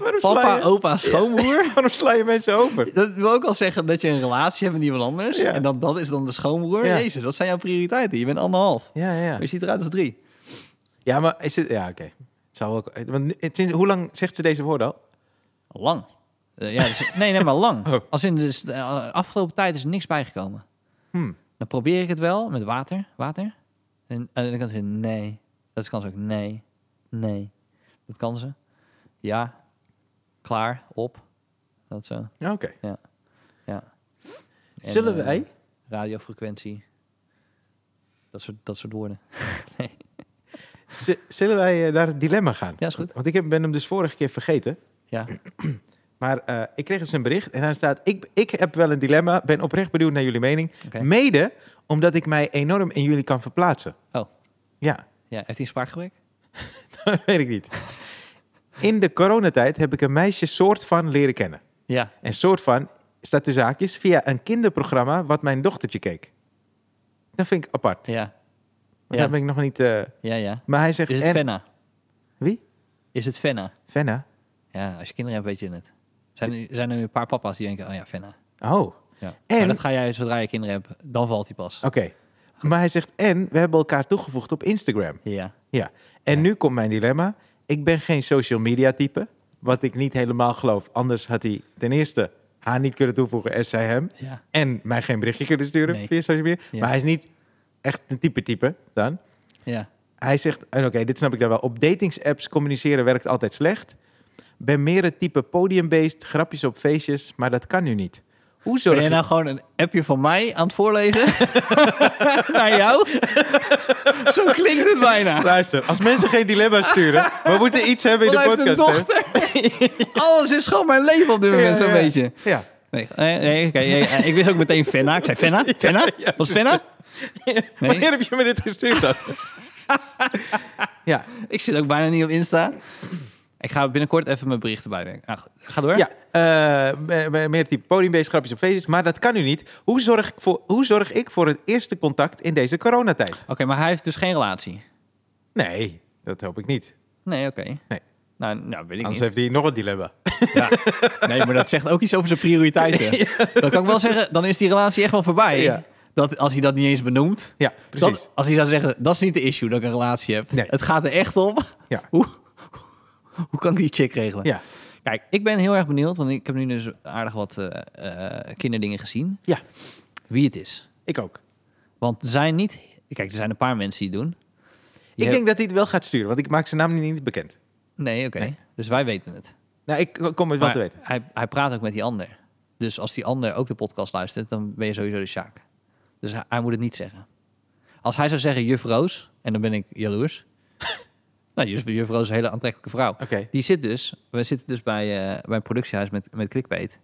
[SPEAKER 1] Waarom, sla
[SPEAKER 2] Papa,
[SPEAKER 1] je,
[SPEAKER 2] opa, schoonbroer.
[SPEAKER 1] waarom sla je mensen over?
[SPEAKER 2] Dat wil ook al zeggen dat je een relatie hebt met iemand anders.
[SPEAKER 1] Ja.
[SPEAKER 2] En dan, dat is dan de schoonbroer.
[SPEAKER 1] Ja.
[SPEAKER 2] Jezus, wat zijn jouw prioriteiten? Je bent anderhalf.
[SPEAKER 1] Ja, ja.
[SPEAKER 2] Maar je ziet eruit als drie.
[SPEAKER 1] Ja, maar is het... Ja, oké. Het zou wel... eh, Want nu- het is- hoe lang zegt ze deze woorden al?
[SPEAKER 2] Lang. Eh, ja, dus- nee, nee, maar lang.
[SPEAKER 1] Oh.
[SPEAKER 2] Als in de afgelopen tijd is er niks bijgekomen.
[SPEAKER 1] Hmm.
[SPEAKER 2] Dan probeer ik het wel met water. Water. En eh, aan de ene kant weer nee. Dat kan ze ook. Nee. Nee. Dat kan ze. Ja. Klaar. Op. Dat zo.
[SPEAKER 1] Ja, Oké.
[SPEAKER 2] Ja. En,
[SPEAKER 1] Zullen
[SPEAKER 2] eh,
[SPEAKER 1] wij...
[SPEAKER 2] Radiofrequentie. Dat soort, dat soort woorden.
[SPEAKER 1] Z- zullen wij eh, naar het dilemma gaan?
[SPEAKER 2] Ja, is goed.
[SPEAKER 1] Want ik heb, ben hem dus vorige keer vergeten.
[SPEAKER 2] Ja.
[SPEAKER 1] Maar eh, ik kreeg dus een bericht en daar staat... Ik, ik heb wel een dilemma, ben oprecht benieuwd naar jullie mening.
[SPEAKER 2] Oké.
[SPEAKER 1] Mede omdat ik mij enorm in jullie kan verplaatsen.
[SPEAKER 2] Oh.
[SPEAKER 1] Ja,
[SPEAKER 2] Ja, heeft hij een spraakgebrek?
[SPEAKER 1] dat weet ik niet. In de coronatijd heb ik een meisje soort van leren kennen.
[SPEAKER 2] Ja.
[SPEAKER 1] En soort van, staat tussen haakjes, via een kinderprogramma wat mijn dochtertje keek. Dat vind ik apart.
[SPEAKER 2] Ja.
[SPEAKER 1] Want
[SPEAKER 2] Ja.
[SPEAKER 1] Dat ben ik nog niet... eh,
[SPEAKER 2] Ja, ja.
[SPEAKER 1] maar hij zegt...
[SPEAKER 2] Is het
[SPEAKER 1] en-
[SPEAKER 2] Fenna?
[SPEAKER 1] Wie?
[SPEAKER 2] Is het Fenna?
[SPEAKER 1] Fenna?
[SPEAKER 2] Ja, als je kinderen hebt, weet je het. Zijn er, zijn er een paar papa's die denken, oh ja, Fenna.
[SPEAKER 1] Oh.
[SPEAKER 2] Ja.
[SPEAKER 1] En-
[SPEAKER 2] Maar dat ga jij zodra je kinderen hebt, dan valt hij pas.
[SPEAKER 1] Oké. Maar hij zegt, en we hebben elkaar toegevoegd op Instagram.
[SPEAKER 2] Ja.
[SPEAKER 1] Ja. En nu komt mijn dilemma. Ik ben geen social media type, wat ik niet helemaal geloof. Anders had hij ten eerste haar niet kunnen toevoegen en zij hem.
[SPEAKER 2] Ja.
[SPEAKER 1] En mij geen berichtje kunnen sturen
[SPEAKER 2] Nee.
[SPEAKER 1] via social media.
[SPEAKER 2] Ja.
[SPEAKER 1] Maar hij is niet echt een type type dan.
[SPEAKER 2] Ja.
[SPEAKER 1] Hij zegt, en oké, dit snap ik dan wel. Op datingsapps communiceren werkt altijd slecht. Ben meer het type podiumbeest, grapjes op feestjes, maar dat kan nu niet. Hoe zorg
[SPEAKER 2] Ben je
[SPEAKER 1] je-
[SPEAKER 2] nou gewoon een appje van mij aan het voorlezen? Naar jou? Zo klinkt het bijna.
[SPEAKER 1] Luister, als mensen geen dilemma sturen, we moeten iets hebben in
[SPEAKER 2] Want
[SPEAKER 1] de
[SPEAKER 2] hij heeft een
[SPEAKER 1] podcast. hè?
[SPEAKER 2] dochter. Alles is gewoon mijn leven op dit moment,
[SPEAKER 1] Ja,
[SPEAKER 2] zo'n
[SPEAKER 1] ja.
[SPEAKER 2] beetje.
[SPEAKER 1] Ja.
[SPEAKER 2] Nee, nee, nee, oké, nee, eh, ik wist ook meteen Fenna. Ik zei Fenna? Fenna?
[SPEAKER 1] ja,
[SPEAKER 2] Was het Fenna? Nee.
[SPEAKER 1] Wanneer heb je me dit gestuurd dan? ja.
[SPEAKER 2] Ik zit ook bijna niet op Insta. Ik ga binnenkort even mijn berichten bijwerken. Nou, goed. ga door.
[SPEAKER 1] ja eh, me- me- meer type podiumbeest, grapjes op feestjes. Maar dat kan nu niet. Hoe zorg, ik voor, hoe zorg ik voor het eerste contact in deze coronatijd?
[SPEAKER 2] Oké, maar hij heeft dus geen relatie.
[SPEAKER 1] Nee, dat hoop ik niet.
[SPEAKER 2] Nee, oké.
[SPEAKER 1] Nee.
[SPEAKER 2] Nou, nou, weet ik
[SPEAKER 1] Anders
[SPEAKER 2] niet.
[SPEAKER 1] heeft hij nog een dilemma.
[SPEAKER 2] Ja. Nee, maar dat zegt ook iets over zijn prioriteiten. Dan kan ik wel zeggen, dan is die relatie echt wel voorbij.
[SPEAKER 1] Ja.
[SPEAKER 2] Dat, als hij dat niet eens benoemt.
[SPEAKER 1] Ja, precies.
[SPEAKER 2] Dat, als hij zou zeggen, dat is niet de issue dat ik een relatie heb.
[SPEAKER 1] Nee.
[SPEAKER 2] Het gaat er echt om.
[SPEAKER 1] Ja.
[SPEAKER 2] Hoe, hoe kan ik die chick regelen?
[SPEAKER 1] Ja.
[SPEAKER 2] Kijk, ik ben heel erg benieuwd, want ik heb nu dus aardig wat eh, eh, kinderdingen gezien.
[SPEAKER 1] ja,
[SPEAKER 2] Wie het is.
[SPEAKER 1] ik ook.
[SPEAKER 2] Want er zijn niet... Kijk, er zijn een paar mensen die het doen. Je
[SPEAKER 1] ik
[SPEAKER 2] hebt-
[SPEAKER 1] denk dat hij het wel gaat sturen, want ik maak zijn naam niet bekend.
[SPEAKER 2] Nee, oké. Dus wij weten het.
[SPEAKER 1] Nou, ik kom het wel te
[SPEAKER 2] Maar
[SPEAKER 1] weten.
[SPEAKER 2] Hij, hij praat ook met die ander. Dus als die ander ook de podcast luistert, dan ben je sowieso de Sjaak. Dus hij, hij moet het niet zeggen. Als hij zou zeggen juf Roos, en dan ben ik jaloers. nou, juf, juf Roos is een hele aantrekkelijke vrouw.
[SPEAKER 1] Oké.
[SPEAKER 2] Die zit dus, we zitten dus bij, eh, bij een productiehuis met, met Clickbait.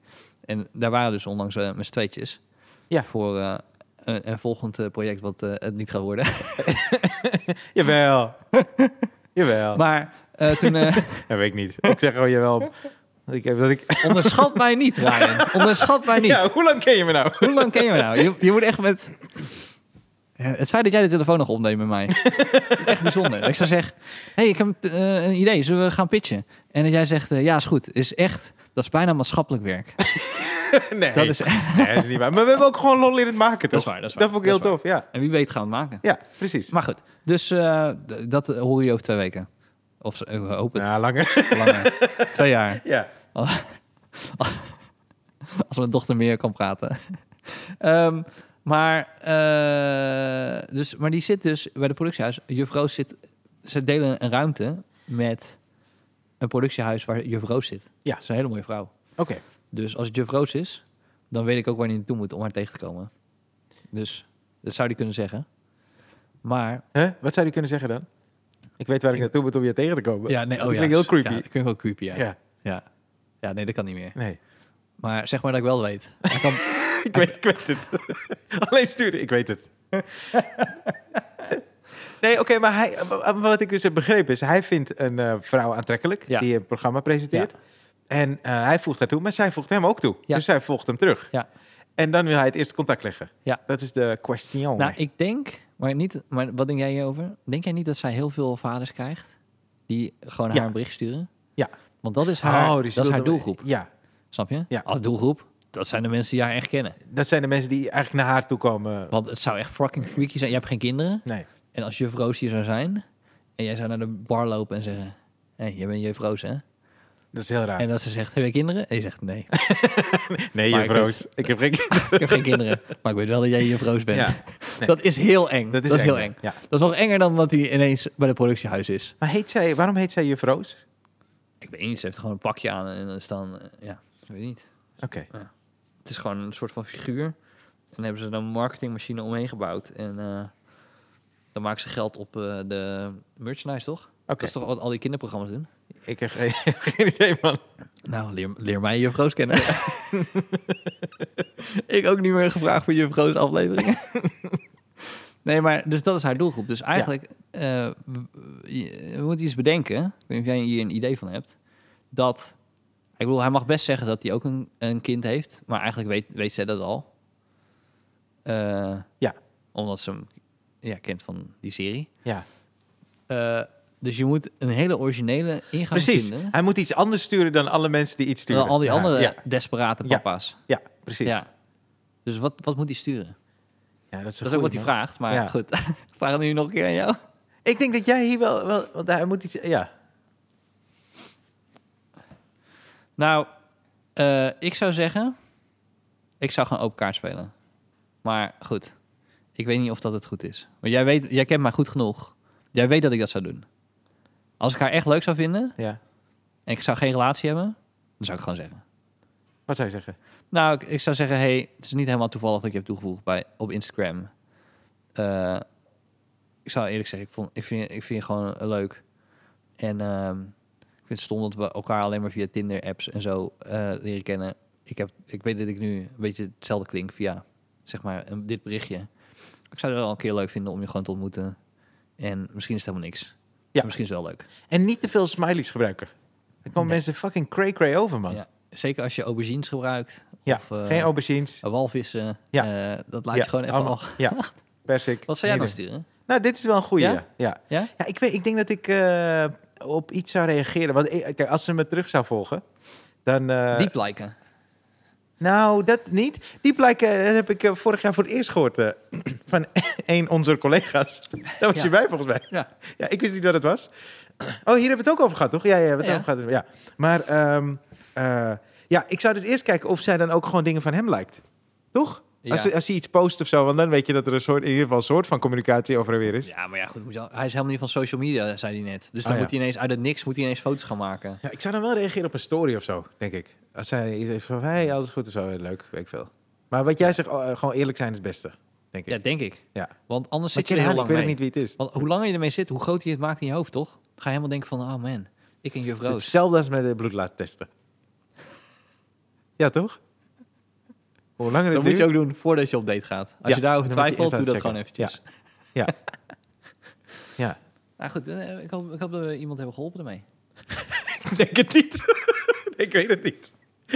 [SPEAKER 2] En daar waren dus onlangs eh, met z'n tweetjes.
[SPEAKER 1] Ja.
[SPEAKER 2] voor eh, een, een volgend eh, project wat eh, het niet gaat worden.
[SPEAKER 1] Oh. Jawel. jawel.
[SPEAKER 2] Maar eh, toen... eh,
[SPEAKER 1] Dat weet ik niet. Ik zeg gewoon jawel. Dat ik, dat ik...
[SPEAKER 2] onderschat mij niet, Ryan. Onderschat mij niet.
[SPEAKER 1] Ja, hoe lang ken je me nou?
[SPEAKER 2] Hoe lang ken je me nou? Je, je moet echt met... Ja, Het feit dat jij de telefoon nog opneemt met mij. is echt bijzonder. Dat Ik zou zeggen, hey, ik heb een, t- eh, een idee. Zullen we gaan pitchen? En dat jij zegt, eh, ja, is goed. Is echt... Dat is bijna maatschappelijk werk.
[SPEAKER 1] Nee,
[SPEAKER 2] Dat is,
[SPEAKER 1] nee, dat is niet waar. Maar we hebben ook gewoon lol in het maken, toch?
[SPEAKER 2] Dat is waar, dat is waar.
[SPEAKER 1] vond ik heel
[SPEAKER 2] Dat is
[SPEAKER 1] tof, ja.
[SPEAKER 2] en wie weet gaan we het maken.
[SPEAKER 1] Ja, precies.
[SPEAKER 2] Maar goed, dus eh, d- dat hoor je over twee weken. Of zo, eh, we hopen het
[SPEAKER 1] Nou, langer.
[SPEAKER 2] langer. twee jaar.
[SPEAKER 1] ja.
[SPEAKER 2] Als mijn dochter meer kan praten. Ehm, maar, eh, dus, maar die zit dus bij de productiehuis. Juf Roos zit... Ze delen een ruimte met een productiehuis waar Juf Roos zit.
[SPEAKER 1] Ja.
[SPEAKER 2] Dat is een hele mooie vrouw.
[SPEAKER 1] Oké.
[SPEAKER 2] Dus als het Juf Roos is, dan weet ik ook waar hij naartoe moet om haar tegen te komen. Dus dat zou die kunnen zeggen. Maar...
[SPEAKER 1] Huh? Wat zou je kunnen zeggen dan? Ik weet waar ik naartoe moet om je tegen te komen.
[SPEAKER 2] Ja, nee,
[SPEAKER 1] dat
[SPEAKER 2] oh ja.
[SPEAKER 1] klinkt heel creepy.
[SPEAKER 2] Ja, dat klinkt wel creepy, ja.
[SPEAKER 1] Ja,
[SPEAKER 2] ja. Ja. nee, dat kan niet meer.
[SPEAKER 1] nee.
[SPEAKER 2] Maar zeg maar dat ik wel weet. Hij kan-
[SPEAKER 1] Ik weet, ik weet het. Alleen sturen, ik weet het. Nee, oké, maar hij, w- wat ik dus heb begrepen is... hij vindt een eh, vrouw aantrekkelijk
[SPEAKER 2] Ja.
[SPEAKER 1] die een programma presenteert. En eh, hij voegt haar toe, maar zij voegt hem ook toe.
[SPEAKER 2] Ja.
[SPEAKER 1] Dus zij volgt hem terug.
[SPEAKER 2] Ja.
[SPEAKER 1] En dan wil hij het eerste contact leggen.
[SPEAKER 2] Ja.
[SPEAKER 1] Dat is de question.
[SPEAKER 2] Nou, ik denk, maar, niet, maar wat denk jij hierover? Denk jij niet dat zij heel veel vaders krijgt die gewoon
[SPEAKER 1] Ja.
[SPEAKER 2] haar een bericht sturen?
[SPEAKER 1] Ja.
[SPEAKER 2] Want dat is haar,
[SPEAKER 1] Oh, dus
[SPEAKER 2] dat
[SPEAKER 1] wil
[SPEAKER 2] is haar
[SPEAKER 1] de-
[SPEAKER 2] doelgroep.
[SPEAKER 1] Ja,
[SPEAKER 2] Snap je?
[SPEAKER 1] Ja.
[SPEAKER 2] Oh, doelgroep. Dat zijn de mensen die haar echt kennen.
[SPEAKER 1] dat zijn de mensen die eigenlijk naar haar toe komen.
[SPEAKER 2] Want het zou echt fucking freaky zijn. Je hebt geen kinderen.
[SPEAKER 1] Nee.
[SPEAKER 2] En als juf Roos hier zou zijn en jij zou naar de bar lopen en zeggen: Hé, hey, jij bent juf Roos, hè?
[SPEAKER 1] Dat is heel raar.
[SPEAKER 2] En dat ze zegt: Heb je kinderen? En je zegt: Nee,
[SPEAKER 1] nee,
[SPEAKER 2] maar
[SPEAKER 1] juf
[SPEAKER 2] ik weet-
[SPEAKER 1] Roos. Ik heb geen...
[SPEAKER 2] ik heb geen kinderen. Maar ik weet wel dat jij juf Roos bent.
[SPEAKER 1] Ja. Nee.
[SPEAKER 2] Dat is heel eng. Dat is, heel eng.
[SPEAKER 1] Ja.
[SPEAKER 2] Dat is nog enger dan dat hij ineens bij de productiehuis is.
[SPEAKER 1] Maar heet zij, waarom heet zij juf Roos?
[SPEAKER 2] Ik weet niet, ze heeft gewoon een pakje aan en dan is dan, eh, ja, ik weet niet.
[SPEAKER 1] Oké.
[SPEAKER 2] Het is gewoon een soort van figuur. En dan hebben ze dan een marketingmachine omheen gebouwd. En eh, dan maken ze geld op eh, de merchandise, toch? Dat
[SPEAKER 1] Oké.
[SPEAKER 2] is toch wat al die kinderprogramma's doen?
[SPEAKER 1] Ik heb geen, geen idee, man.
[SPEAKER 2] Nou, leer, leer mij Juf Roos kennen. ik ook niet meer gevraagd voor Juf Roos afleveringen. nee, maar dus dat is haar doelgroep. Dus eigenlijk, eh, w- w- je- we moeten iets bedenken. Ik weet niet of jij hier een idee van hebt. Dat, ik bedoel, hij mag best zeggen dat hij ook een, een kind heeft. Maar eigenlijk weet, weet zij dat al. Eh,
[SPEAKER 1] Ja.
[SPEAKER 2] Omdat ze hem ja, kent van die serie.
[SPEAKER 1] Ja,
[SPEAKER 2] Eh, dus je moet een hele originele ingang
[SPEAKER 1] precies.
[SPEAKER 2] vinden.
[SPEAKER 1] Hij moet iets anders sturen dan alle mensen die iets sturen.
[SPEAKER 2] Terwijl al die
[SPEAKER 1] Ja,
[SPEAKER 2] andere
[SPEAKER 1] Ja,
[SPEAKER 2] desperate
[SPEAKER 1] Ja.
[SPEAKER 2] papa's.
[SPEAKER 1] ja precies. Ja.
[SPEAKER 2] Ja. Dus wat, wat moet hij sturen? Dat
[SPEAKER 1] dat is,
[SPEAKER 2] is ook wat hij vraagt, maar
[SPEAKER 1] Ja.
[SPEAKER 2] goed. Ik Vraag het nu nog een keer aan jou.
[SPEAKER 1] vraagt. Ik denk dat jij hier wel... wel want hij moet iets... Ja.
[SPEAKER 2] Nou, eh, ik zou zeggen... Ik zou gewoon open kaart spelen. Maar goed, ik weet niet of dat het goed is. Maar jij, weet, jij kent mij goed genoeg. Jij weet dat ik dat zou doen. Als ik haar echt leuk zou vinden
[SPEAKER 1] ja.
[SPEAKER 2] en ik zou geen relatie hebben... dan zou ik gewoon zeggen.
[SPEAKER 1] Wat zou je zeggen?
[SPEAKER 2] Nou, ik, ik zou zeggen, hey, het is niet helemaal toevallig dat ik je heb toegevoegd bij, op Instagram. Eh, ik zou eerlijk zeggen, ik, vond, ik, vind, ik vind je gewoon eh, leuk. En ehm, ik vind het stom dat we elkaar alleen maar via Tinder-apps en zo eh, leren kennen. Ik, heb, ik weet dat ik nu een beetje hetzelfde klink via, zeg maar, een- dit berichtje. Ik zou het wel een keer leuk vinden om je gewoon te ontmoeten. En misschien is het helemaal niks.
[SPEAKER 1] Ja.
[SPEAKER 2] En Misschien is het wel leuk.
[SPEAKER 1] En niet te veel smileys gebruiken. Dan komen mensen fucking cray-cray over, man. Ja.
[SPEAKER 2] Ja. Zeker als je aubergines gebruikt. Of, eh,
[SPEAKER 1] geen aubergines.
[SPEAKER 2] walvissen.
[SPEAKER 1] Ja.
[SPEAKER 2] eh, dat laat je
[SPEAKER 1] Ja,
[SPEAKER 2] gewoon even
[SPEAKER 1] allemaal-
[SPEAKER 2] al.
[SPEAKER 1] Ja, persik.
[SPEAKER 2] Wat zou jij dan
[SPEAKER 1] Hier.
[SPEAKER 2] sturen?
[SPEAKER 1] Nou, dit is wel een goede.
[SPEAKER 2] Ja?
[SPEAKER 1] Ja? Ja.
[SPEAKER 2] Ja?
[SPEAKER 1] ik, weet, ik denk dat ik eh, op iets zou reageren. Want ik- kijk, als ze me terug zou volgen, dan... eh,
[SPEAKER 2] Diep liken.
[SPEAKER 1] Nou, dat niet. Die blijken, dat heb ik eh, vorig jaar voor het eerst gehoord eh, van een onze collega's. Daar was
[SPEAKER 2] Ja.
[SPEAKER 1] je bij volgens mij.
[SPEAKER 2] Ja.
[SPEAKER 1] Ja, ik wist niet wat het was. Oh, hier hebben we het ook over gehad, toch? Ja, ja, we hebben
[SPEAKER 2] Ja.
[SPEAKER 1] het over gehad. Ja. Maar ehm, eh, ja, ik zou dus eerst kijken of zij dan ook gewoon dingen van hem lijkt. Toch?
[SPEAKER 2] Ja.
[SPEAKER 1] Als, ze- als hij iets post of zo, want dan weet je dat er een soort, in ieder geval een soort van communicatie over en weer is. Ja.
[SPEAKER 2] ja, maar ja, goed. moet je al- Hij is helemaal niet van social media, zei hij net. Dus dan
[SPEAKER 1] Ah, ja.
[SPEAKER 2] moet hij ineens uit het niks moet hij ineens foto's gaan maken.
[SPEAKER 1] ik zou dan wel reageren op een story of zo, denk ik. Als zij iets heeft van, hé, hey, alles goed of zo, leuk, weet ik veel. Maar wat jij zegt, oh, eh, gewoon eerlijk zijn is het beste, denk ik.
[SPEAKER 2] Ja, denk ik.
[SPEAKER 1] Ja.
[SPEAKER 2] Want anders
[SPEAKER 1] Maar
[SPEAKER 2] zit je er heel
[SPEAKER 1] ik
[SPEAKER 2] lang
[SPEAKER 1] nou weet
[SPEAKER 2] mee.
[SPEAKER 1] ook niet wie het is.
[SPEAKER 2] Want hoe langer je ermee zit, hoe groter je het maakt in je hoofd, toch? Dan ga je helemaal denken van, oh man, ik en juf
[SPEAKER 1] Het is
[SPEAKER 2] Roos.
[SPEAKER 1] hetzelfde als met de bloed laten testen. Ja, toch? Hoe langer het
[SPEAKER 2] Dat moet je
[SPEAKER 1] duurt-
[SPEAKER 2] ook doen voordat je op date gaat. Als
[SPEAKER 1] Ja,
[SPEAKER 2] je daarover
[SPEAKER 1] dan moet je
[SPEAKER 2] twijfelt, doe
[SPEAKER 1] eerst
[SPEAKER 2] dat
[SPEAKER 1] laten checken.
[SPEAKER 2] gewoon eventjes.
[SPEAKER 1] Ja. Ja.
[SPEAKER 2] Nou goed, eh, ik hoop, ik hoop dat we iemand hebben geholpen ermee.
[SPEAKER 1] Ik denk het niet. ik weet het niet.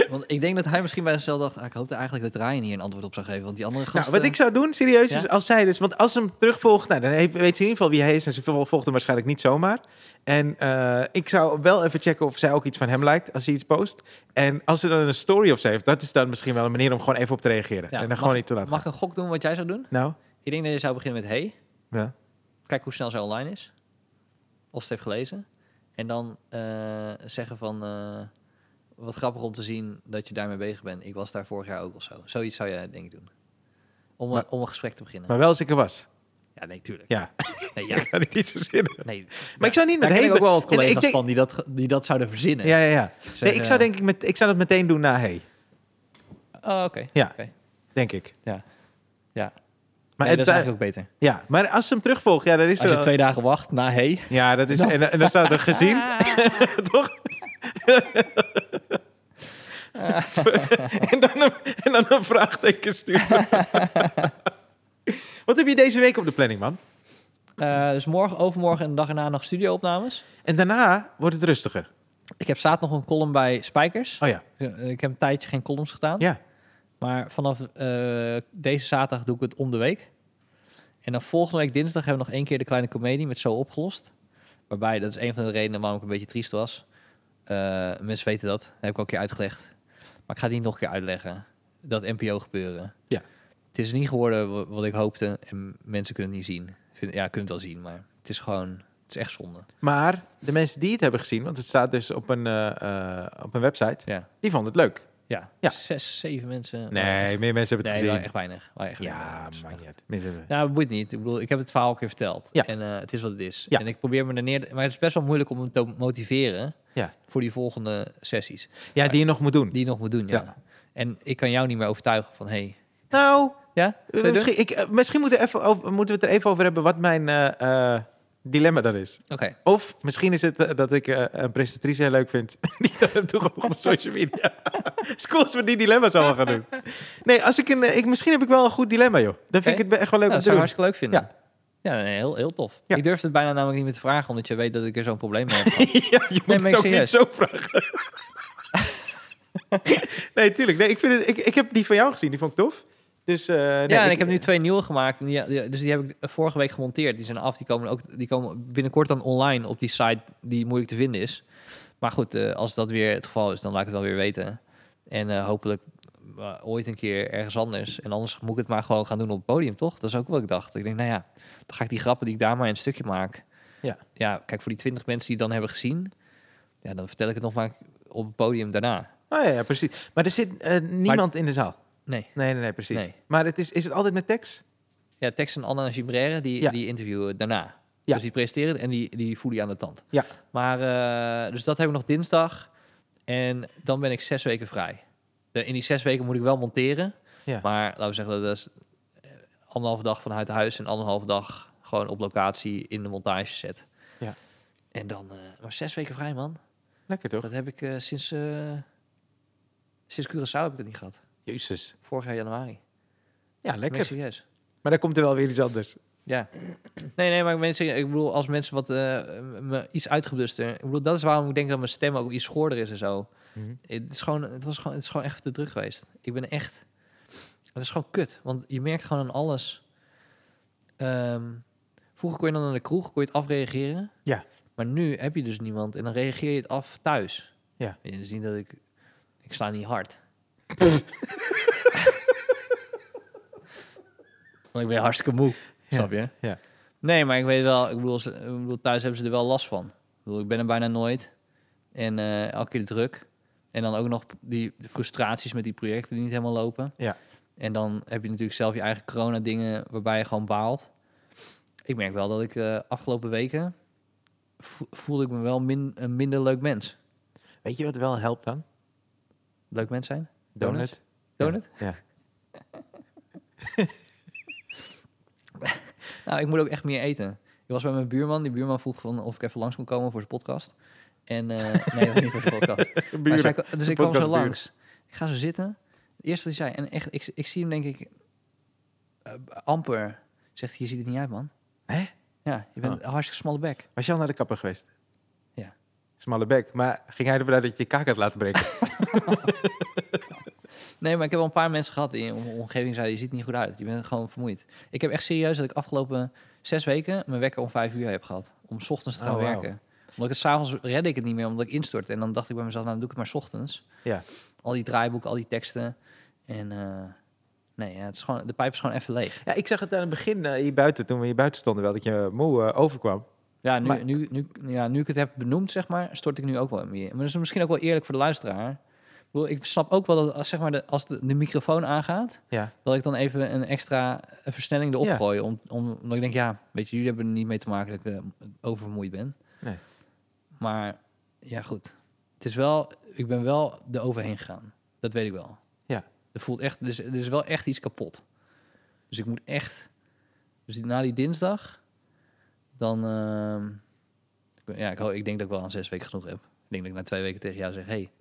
[SPEAKER 2] Want ik denk dat hij misschien bij zichzelf dacht... ah, ik hoopte eigenlijk dat Ryan hier een antwoord op zou geven. Want die andere
[SPEAKER 1] Nou,
[SPEAKER 2] gasten...
[SPEAKER 1] wat ik zou doen, serieus,
[SPEAKER 2] Ja?
[SPEAKER 1] is als zij dus... Want als ze hem terugvolgt, nou, dan heeft- weet ze in ieder geval wie hij is. En ze vol- volgt hem waarschijnlijk niet zomaar. En eh, ik zou wel even checken of zij ook iets van hem lijkt als hij iets post. En als ze dan een story of ze heeft, dat is dan misschien wel een manier om gewoon even op te reageren.
[SPEAKER 2] Ja,
[SPEAKER 1] en dan
[SPEAKER 2] mag-
[SPEAKER 1] gewoon niet te laten
[SPEAKER 2] Mag ik een gok doen wat jij zou doen?
[SPEAKER 1] gaan. Nou,
[SPEAKER 2] Ik denk dat je zou beginnen met hey.
[SPEAKER 1] ja.
[SPEAKER 2] Kijk hoe snel zij online is. Of ze het heeft gelezen. En dan eh, zeggen van... eh, wat grappig om te zien dat je daarmee bezig bent. Ik was daar vorig jaar ook of zo. Zoiets zou jij denk ik doen. Om,
[SPEAKER 1] Maar-
[SPEAKER 2] een, om een gesprek te beginnen.
[SPEAKER 1] maar wel als ik er was.
[SPEAKER 2] ja, nee, tuurlijk.
[SPEAKER 1] Ja,
[SPEAKER 2] Nee, ja.
[SPEAKER 1] ik kan het niet verzinnen.
[SPEAKER 2] Nee,
[SPEAKER 1] Maar ik zou niet met
[SPEAKER 2] daar ken ik
[SPEAKER 1] hey
[SPEAKER 2] ook wel wat
[SPEAKER 1] be- en ik
[SPEAKER 2] collega's
[SPEAKER 1] denk-
[SPEAKER 2] van die dat, die dat zouden verzinnen.
[SPEAKER 1] Ja, ja, ja. Nee,
[SPEAKER 2] Zeggen,
[SPEAKER 1] ik zou denk ik, met, ik zou dat meteen doen na hey,
[SPEAKER 2] Oh, oké.
[SPEAKER 1] Ja.
[SPEAKER 2] Oké.
[SPEAKER 1] denk ik.
[SPEAKER 2] Ja. Ja.
[SPEAKER 1] Maar,
[SPEAKER 2] Nee,
[SPEAKER 1] het,
[SPEAKER 2] dat is eigenlijk ook beter.
[SPEAKER 1] ja, maar als ze hem terugvolgt, ja, dan is
[SPEAKER 2] Als
[SPEAKER 1] er
[SPEAKER 2] je
[SPEAKER 1] wel-
[SPEAKER 2] twee dagen wacht na hey.
[SPEAKER 1] Ja, dat is, en, en dan staat er gezien, toch? en, dan een, en dan een vraagteken sturen. Wat heb je deze week op de planning, man?
[SPEAKER 2] Eh, dus morgen, overmorgen en de dag erna nog studio-opnames.
[SPEAKER 1] En daarna wordt het rustiger.
[SPEAKER 2] Ik heb zaterdag nog een column bij Spijkers.
[SPEAKER 1] Oh ja,
[SPEAKER 2] Eh, Ik heb een tijdje geen columns gedaan.
[SPEAKER 1] ja.
[SPEAKER 2] Maar vanaf eh, deze zaterdag doe ik het om de week. En dan volgende week dinsdag hebben we nog één keer de kleine comedie met Zo opgelost. Waarbij, dat is een van de redenen waarom ik een beetje triest was. Eh, mensen weten dat, dat heb ik al een keer uitgelegd. Maar ik ga het niet nog een keer uitleggen. Dat NPO gebeuren.
[SPEAKER 1] Ja.
[SPEAKER 2] Het is niet geworden wa- wat ik hoopte en mensen kunnen het niet zien. Vind, ja, kunnen het wel zien, maar het is gewoon, het is echt zonde.
[SPEAKER 1] Maar de mensen die het hebben gezien, want het staat dus op een, eh, eh, op een website,
[SPEAKER 2] Ja,
[SPEAKER 1] die vonden het leuk.
[SPEAKER 2] ja.
[SPEAKER 1] Ja.
[SPEAKER 2] zes, zeven mensen.
[SPEAKER 1] Nee, meer mensen hebben het
[SPEAKER 2] nee, waren
[SPEAKER 1] gezien.
[SPEAKER 2] echt weinig. Waren echt weinig.
[SPEAKER 1] Ja,
[SPEAKER 2] Het is
[SPEAKER 1] maakt
[SPEAKER 2] echt-
[SPEAKER 1] niet uit. Mensen hebben-
[SPEAKER 2] Nou, dat boeit niet. Ik bedoel, ik heb het verhaal al een keer verteld.
[SPEAKER 1] Ja.
[SPEAKER 2] En eh, het is wat het is.
[SPEAKER 1] Ja.
[SPEAKER 2] En ik probeer me er neer... Maar het is best wel moeilijk om hem te motiveren...
[SPEAKER 1] Ja.
[SPEAKER 2] voor die volgende sessies.
[SPEAKER 1] Ja, die je nog moet doen.
[SPEAKER 2] Die je nog moet doen, ja.
[SPEAKER 1] Ja.
[SPEAKER 2] En ik kan jou niet meer overtuigen van... Hey,
[SPEAKER 1] Nou,
[SPEAKER 2] ja? Zou je
[SPEAKER 1] Misschien, ik, eh, misschien moeten, we even over- moeten we het er even over hebben wat mijn eh, eh, dilemma dan is.
[SPEAKER 2] doen? Oké.
[SPEAKER 1] Of misschien is het eh, dat ik eh, een presentatrice heel leuk vind. Die dat heb toegevoegd op social media. Het is cool als we die dilemma's allemaal gaan doen. Nee, als ik een, eh, ik, misschien heb ik wel een goed dilemma, joh. Dan vind
[SPEAKER 2] Oké.
[SPEAKER 1] ik het be- echt wel leuk
[SPEAKER 2] Nou,
[SPEAKER 1] om
[SPEAKER 2] dat
[SPEAKER 1] te
[SPEAKER 2] zou ik
[SPEAKER 1] doen.
[SPEAKER 2] hartstikke leuk vinden. Ja. nee, heel, heel tof.
[SPEAKER 1] Ja.
[SPEAKER 2] Ik durfde het bijna namelijk niet meer te vragen... omdat je weet dat ik er zo'n probleem mee heb. gehad.
[SPEAKER 1] ja, je moet
[SPEAKER 2] maar
[SPEAKER 1] het
[SPEAKER 2] ik
[SPEAKER 1] ook niet
[SPEAKER 2] serieus.
[SPEAKER 1] zo vragen. nee, tuurlijk. Nee, ik, vind het, ik, ik heb die van jou gezien. Die vond ik tof. Dus, eh, nee,
[SPEAKER 2] ja, en ik, heb nu twee nieuwe gemaakt. En die, die- dus die heb ik vorige week gemonteerd. Die zijn af. Die komen, ook, die komen binnenkort dan online op die site die moeilijk te vinden is. Maar goed, eh, als dat weer het geval is, dan laat ik het wel weer weten. En eh, hopelijk eh, ooit een keer ergens anders. En anders moet ik het maar gewoon gaan doen op het podium, toch? Dat is ook wat ik dacht. Ik denk, nou ja, dan ga ik die grappen die ik daar maar in een stukje maak.
[SPEAKER 1] Ja.
[SPEAKER 2] ja, kijk, voor die twintig mensen die het dan hebben gezien... Ja, dan vertel ik het nog maar op het podium daarna.
[SPEAKER 1] Oh, ja, ja, precies. Maar er zit eh, niemand in de zaal.
[SPEAKER 2] Nee.
[SPEAKER 1] Nee, nee, nee, precies.
[SPEAKER 2] Nee.
[SPEAKER 1] Maar het is, is het altijd met tekst?
[SPEAKER 2] Ja, Tex en Anna Gimbrere, die,
[SPEAKER 1] Ja.
[SPEAKER 2] die interviewen daarna.
[SPEAKER 1] Ja.
[SPEAKER 2] Dus die presteren en die, die voelen je aan de tand.
[SPEAKER 1] Ja.
[SPEAKER 2] Maar, eh, dus dat heb ik nog dinsdag. En dan ben ik zes weken vrij. De- in die zes weken moet ik wel monteren.
[SPEAKER 1] Ja.
[SPEAKER 2] Maar laten we zeggen, dat is eh, anderhalve dag vanuit huis... en anderhalve dag gewoon op locatie in de montage set.
[SPEAKER 1] Ja.
[SPEAKER 2] En dan... eh, maar zes weken vrij, man.
[SPEAKER 1] Lekker toch?
[SPEAKER 2] Dat heb ik eh, sinds... eh, sinds Curaçao heb ik dat niet gehad.
[SPEAKER 1] Jezus.
[SPEAKER 2] Vorig jaar januari.
[SPEAKER 1] Ja,
[SPEAKER 2] Ben ik
[SPEAKER 1] lekker.
[SPEAKER 2] serieus.
[SPEAKER 1] Maar dan komt er wel weer iets anders.
[SPEAKER 2] Ja. Nee, nee, maar mensen, ik bedoel, als mensen wat eh, me iets uitgebluster. Ik bedoel, dat is waarom ik denk dat mijn stem ook iets schoorder is en zo.
[SPEAKER 1] Mhm.
[SPEAKER 2] Het is gewoon, het was gewoon, het is gewoon echt te druk geweest. Ik ben echt, het is gewoon kut, want je merkt gewoon aan alles. Ehm, vroeger kon je dan naar de kroeg, kon je het afreageren.
[SPEAKER 1] Ja.
[SPEAKER 2] Maar nu heb je dus niemand en dan reageer je het af thuis.
[SPEAKER 1] Ja.
[SPEAKER 2] Weet je, dus niet dat ik, ik sla niet hard. Want ik ben hartstikke moe, snap je?
[SPEAKER 1] ja.
[SPEAKER 2] Nee, maar ik weet wel, ik bedoel, ze- ik bedoel, thuis hebben ze er wel last van. Ik, bedoel, ik ben er bijna nooit. En eh elke keer de druk. En dan ook nog die frustraties met die projecten die niet helemaal lopen.
[SPEAKER 1] Ja.
[SPEAKER 2] En dan heb je natuurlijk zelf je eigen corona-dingen waarbij je gewoon baalt. Ik merk wel dat ik eh afgelopen weken vo- voelde ik me wel min, een minder leuk mens.
[SPEAKER 1] Weet je wat wel helpt dan?
[SPEAKER 2] Leuk mens zijn?
[SPEAKER 1] Donut.
[SPEAKER 2] Donut? Donut?
[SPEAKER 1] Ja.
[SPEAKER 2] Nou, ik moet ook echt meer eten. Ik was bij mijn buurman. Die buurman vroeg van of ik even langs kon komen voor zijn podcast. En eh, nee, dat was niet voor zijn podcast. Maar zij- dus ik kwam zo
[SPEAKER 1] podcastburen.
[SPEAKER 2] langs. Ik ga zo zitten. Eerst wat hij zei. En echt, ik, ik zie hem denk ik eh, amper. Zegt hij, je ziet het niet uit, man.
[SPEAKER 1] Hè?
[SPEAKER 2] Ja, je bent
[SPEAKER 1] Oh.
[SPEAKER 2] een hartstikke smalle bek.
[SPEAKER 1] Was je al naar de kapper geweest?
[SPEAKER 2] Ja.
[SPEAKER 1] Smalle bek. Maar ging hij ervan uit dat je je kaak had laten breken?
[SPEAKER 2] Nee, maar ik heb wel een paar mensen gehad die in mijn omgeving zeiden... je ziet er niet goed uit, je bent gewoon vermoeid. Ik heb echt serieus dat ik afgelopen zes weken... mijn wekker om vijf uur heb gehad. Om 's ochtends te
[SPEAKER 1] Oh,
[SPEAKER 2] gaan
[SPEAKER 1] wauw.
[SPEAKER 2] werken. Omdat ik het s'avonds redde ik het niet meer, omdat ik instort. En dan dacht ik bij mezelf, nou dan doe ik het maar 's ochtends.
[SPEAKER 1] ja.
[SPEAKER 2] Al die draaiboeken, al die teksten. En eh, nee, ja, het is gewoon, de pijp is gewoon even leeg.
[SPEAKER 1] ja, ik zag het aan het begin eh, hier buiten, toen we hier buiten stonden, wel dat je moe eh, overkwam.
[SPEAKER 2] Ja nu,
[SPEAKER 1] Maar-
[SPEAKER 2] nu, nu, ja, nu ik het heb benoemd, zeg maar, stort ik nu ook wel meer. Maar dat is misschien ook wel eerlijk voor de luisteraar. Ik, bedoel, ik snap ook wel dat als, zeg maar, de, als de, de microfoon aangaat,
[SPEAKER 1] Ja.
[SPEAKER 2] dat ik dan even een extra eh, versnelling erop
[SPEAKER 1] Ja.
[SPEAKER 2] gooi. Om, om, omdat ik denk, ja, weet je, jullie hebben er niet mee te maken dat ik eh, oververmoeid ben.
[SPEAKER 1] Nee.
[SPEAKER 2] Maar ja, goed. Het is wel, ik ben wel er overheen gegaan. Dat weet ik wel.
[SPEAKER 1] Ja.
[SPEAKER 2] Er voelt echt, dus er is, er is wel echt iets kapot. Dus ik moet echt, dus die- na die dinsdag, dan, ehm, ik ben- ja, ik, ho- ik denk dat ik wel aan zes weken genoeg heb. Ik denk dat ik na twee weken tegen jou zeg, hey,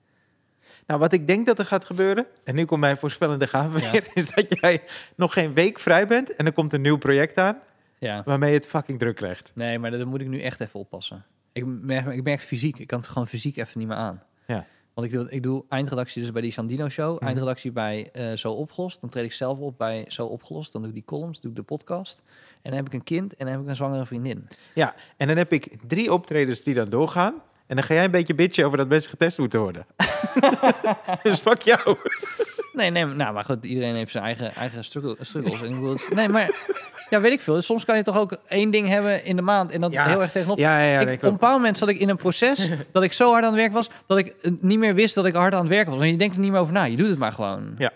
[SPEAKER 1] Nou, wat ik denk dat er gaat gebeuren, en nu komt mijn voorspellende gave
[SPEAKER 2] Ja.
[SPEAKER 1] weer, is dat jij nog geen week vrij bent en er komt een nieuw project aan
[SPEAKER 2] ja,
[SPEAKER 1] waarmee je het fucking druk krijgt.
[SPEAKER 2] Nee, maar daar moet ik nu echt even oppassen. Ik merk, ik merk fysiek, ik kan het gewoon fysiek even niet meer aan.
[SPEAKER 1] Ja. Mhm.
[SPEAKER 2] Want ik doe, ik doe eindredactie dus bij die Sandino Show, eindredactie bij eh, Zo Opgelost. Dan treed ik zelf op bij Zo Opgelost. Dan doe ik die columns, doe ik de podcast. En dan heb ik een kind en dan heb ik een zwangere vriendin.
[SPEAKER 1] Ja, en dan heb ik drie optredens die dan doorgaan. En dan ga jij een beetje bitchen over dat mensen getest moeten worden. dus fuck jou.
[SPEAKER 2] Nee, nee, nou, maar goed, iedereen heeft zijn eigen, eigen struggle- struggles. En ik bedoel, het is- nee, maar ja, weet ik veel. Soms kan je toch ook één ding hebben in de maand en dat
[SPEAKER 1] Ja.
[SPEAKER 2] heel erg tegenop.
[SPEAKER 1] Ja, ja, ja. nee,
[SPEAKER 2] ik, op een
[SPEAKER 1] klopt.
[SPEAKER 2] bepaald moment zat ik in een proces dat ik zo hard aan het werk was dat ik eh, niet meer wist dat ik hard aan het werk was. Want je denkt er niet meer over na, je doet het maar gewoon.
[SPEAKER 1] Ja.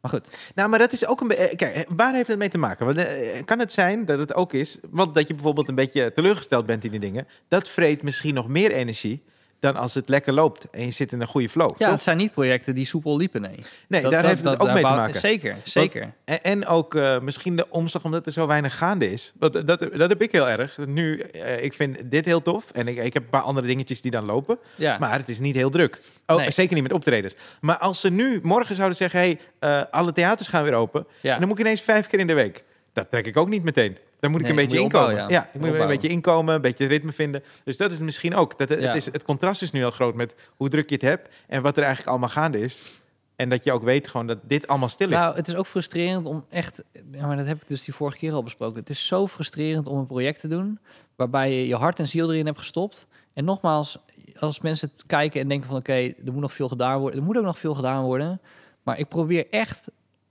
[SPEAKER 2] Maar goed,
[SPEAKER 1] Nou, maar dat is ook een... be- eh, Kijk, eh, waar heeft het mee te maken? Want, eh, kan het zijn dat het ook is... Want dat je bijvoorbeeld een beetje teleurgesteld bent in die dingen. Dat vreet misschien nog meer energie dan als het lekker loopt en je zit in een goede flow.
[SPEAKER 2] ja,
[SPEAKER 1] toch?
[SPEAKER 2] het zijn niet projecten die soepel liepen, nee.
[SPEAKER 1] Nee,
[SPEAKER 2] Dat-
[SPEAKER 1] daar
[SPEAKER 2] dat-
[SPEAKER 1] heeft het
[SPEAKER 2] dat-
[SPEAKER 1] ook
[SPEAKER 2] daar
[SPEAKER 1] mee te
[SPEAKER 2] bouw-
[SPEAKER 1] maken.
[SPEAKER 2] Zeker, zeker.
[SPEAKER 1] En, en ook eh, misschien de omslag omdat er zo weinig gaande is. Want eh, dat, dat, heb ik heel erg. Nu, eh, ik vind dit heel tof. En ik, ik heb een paar andere dingetjes die dan lopen.
[SPEAKER 2] ja.
[SPEAKER 1] Maar het is niet heel druk. Oh,
[SPEAKER 2] Nee.
[SPEAKER 1] Zeker niet met optredens. Maar als ze nu morgen zouden zeggen... hey, eh, alle theaters gaan weer open.
[SPEAKER 2] ja.
[SPEAKER 1] En dan moet ik ineens vijf keer in de week. Dat trek ik ook niet meteen. Dan moet ik
[SPEAKER 2] Nee,
[SPEAKER 1] een
[SPEAKER 2] moet
[SPEAKER 1] beetje
[SPEAKER 2] je
[SPEAKER 1] inkomen.
[SPEAKER 2] opbouwen, ja.
[SPEAKER 1] ja. ik moet een
[SPEAKER 2] Opbouwen.
[SPEAKER 1] beetje inkomen, een beetje ritme vinden. Dus dat is misschien ook. Dat, het,
[SPEAKER 2] Ja.
[SPEAKER 1] is, het contrast is nu heel groot met hoe druk je het hebt... en wat er eigenlijk allemaal gaande is. En dat je ook weet gewoon dat dit allemaal stil ligt.
[SPEAKER 2] Nou, het is ook frustrerend om echt. Ja, maar dat heb ik dus die vorige keer al besproken. Het is zo frustrerend om een project te doen. waarbij je je hart en ziel erin hebt gestopt. En nogmaals, als mensen het kijken en denken: van oké, er moet nog veel gedaan worden. Er moet ook nog veel gedaan worden. Maar ik probeer echt.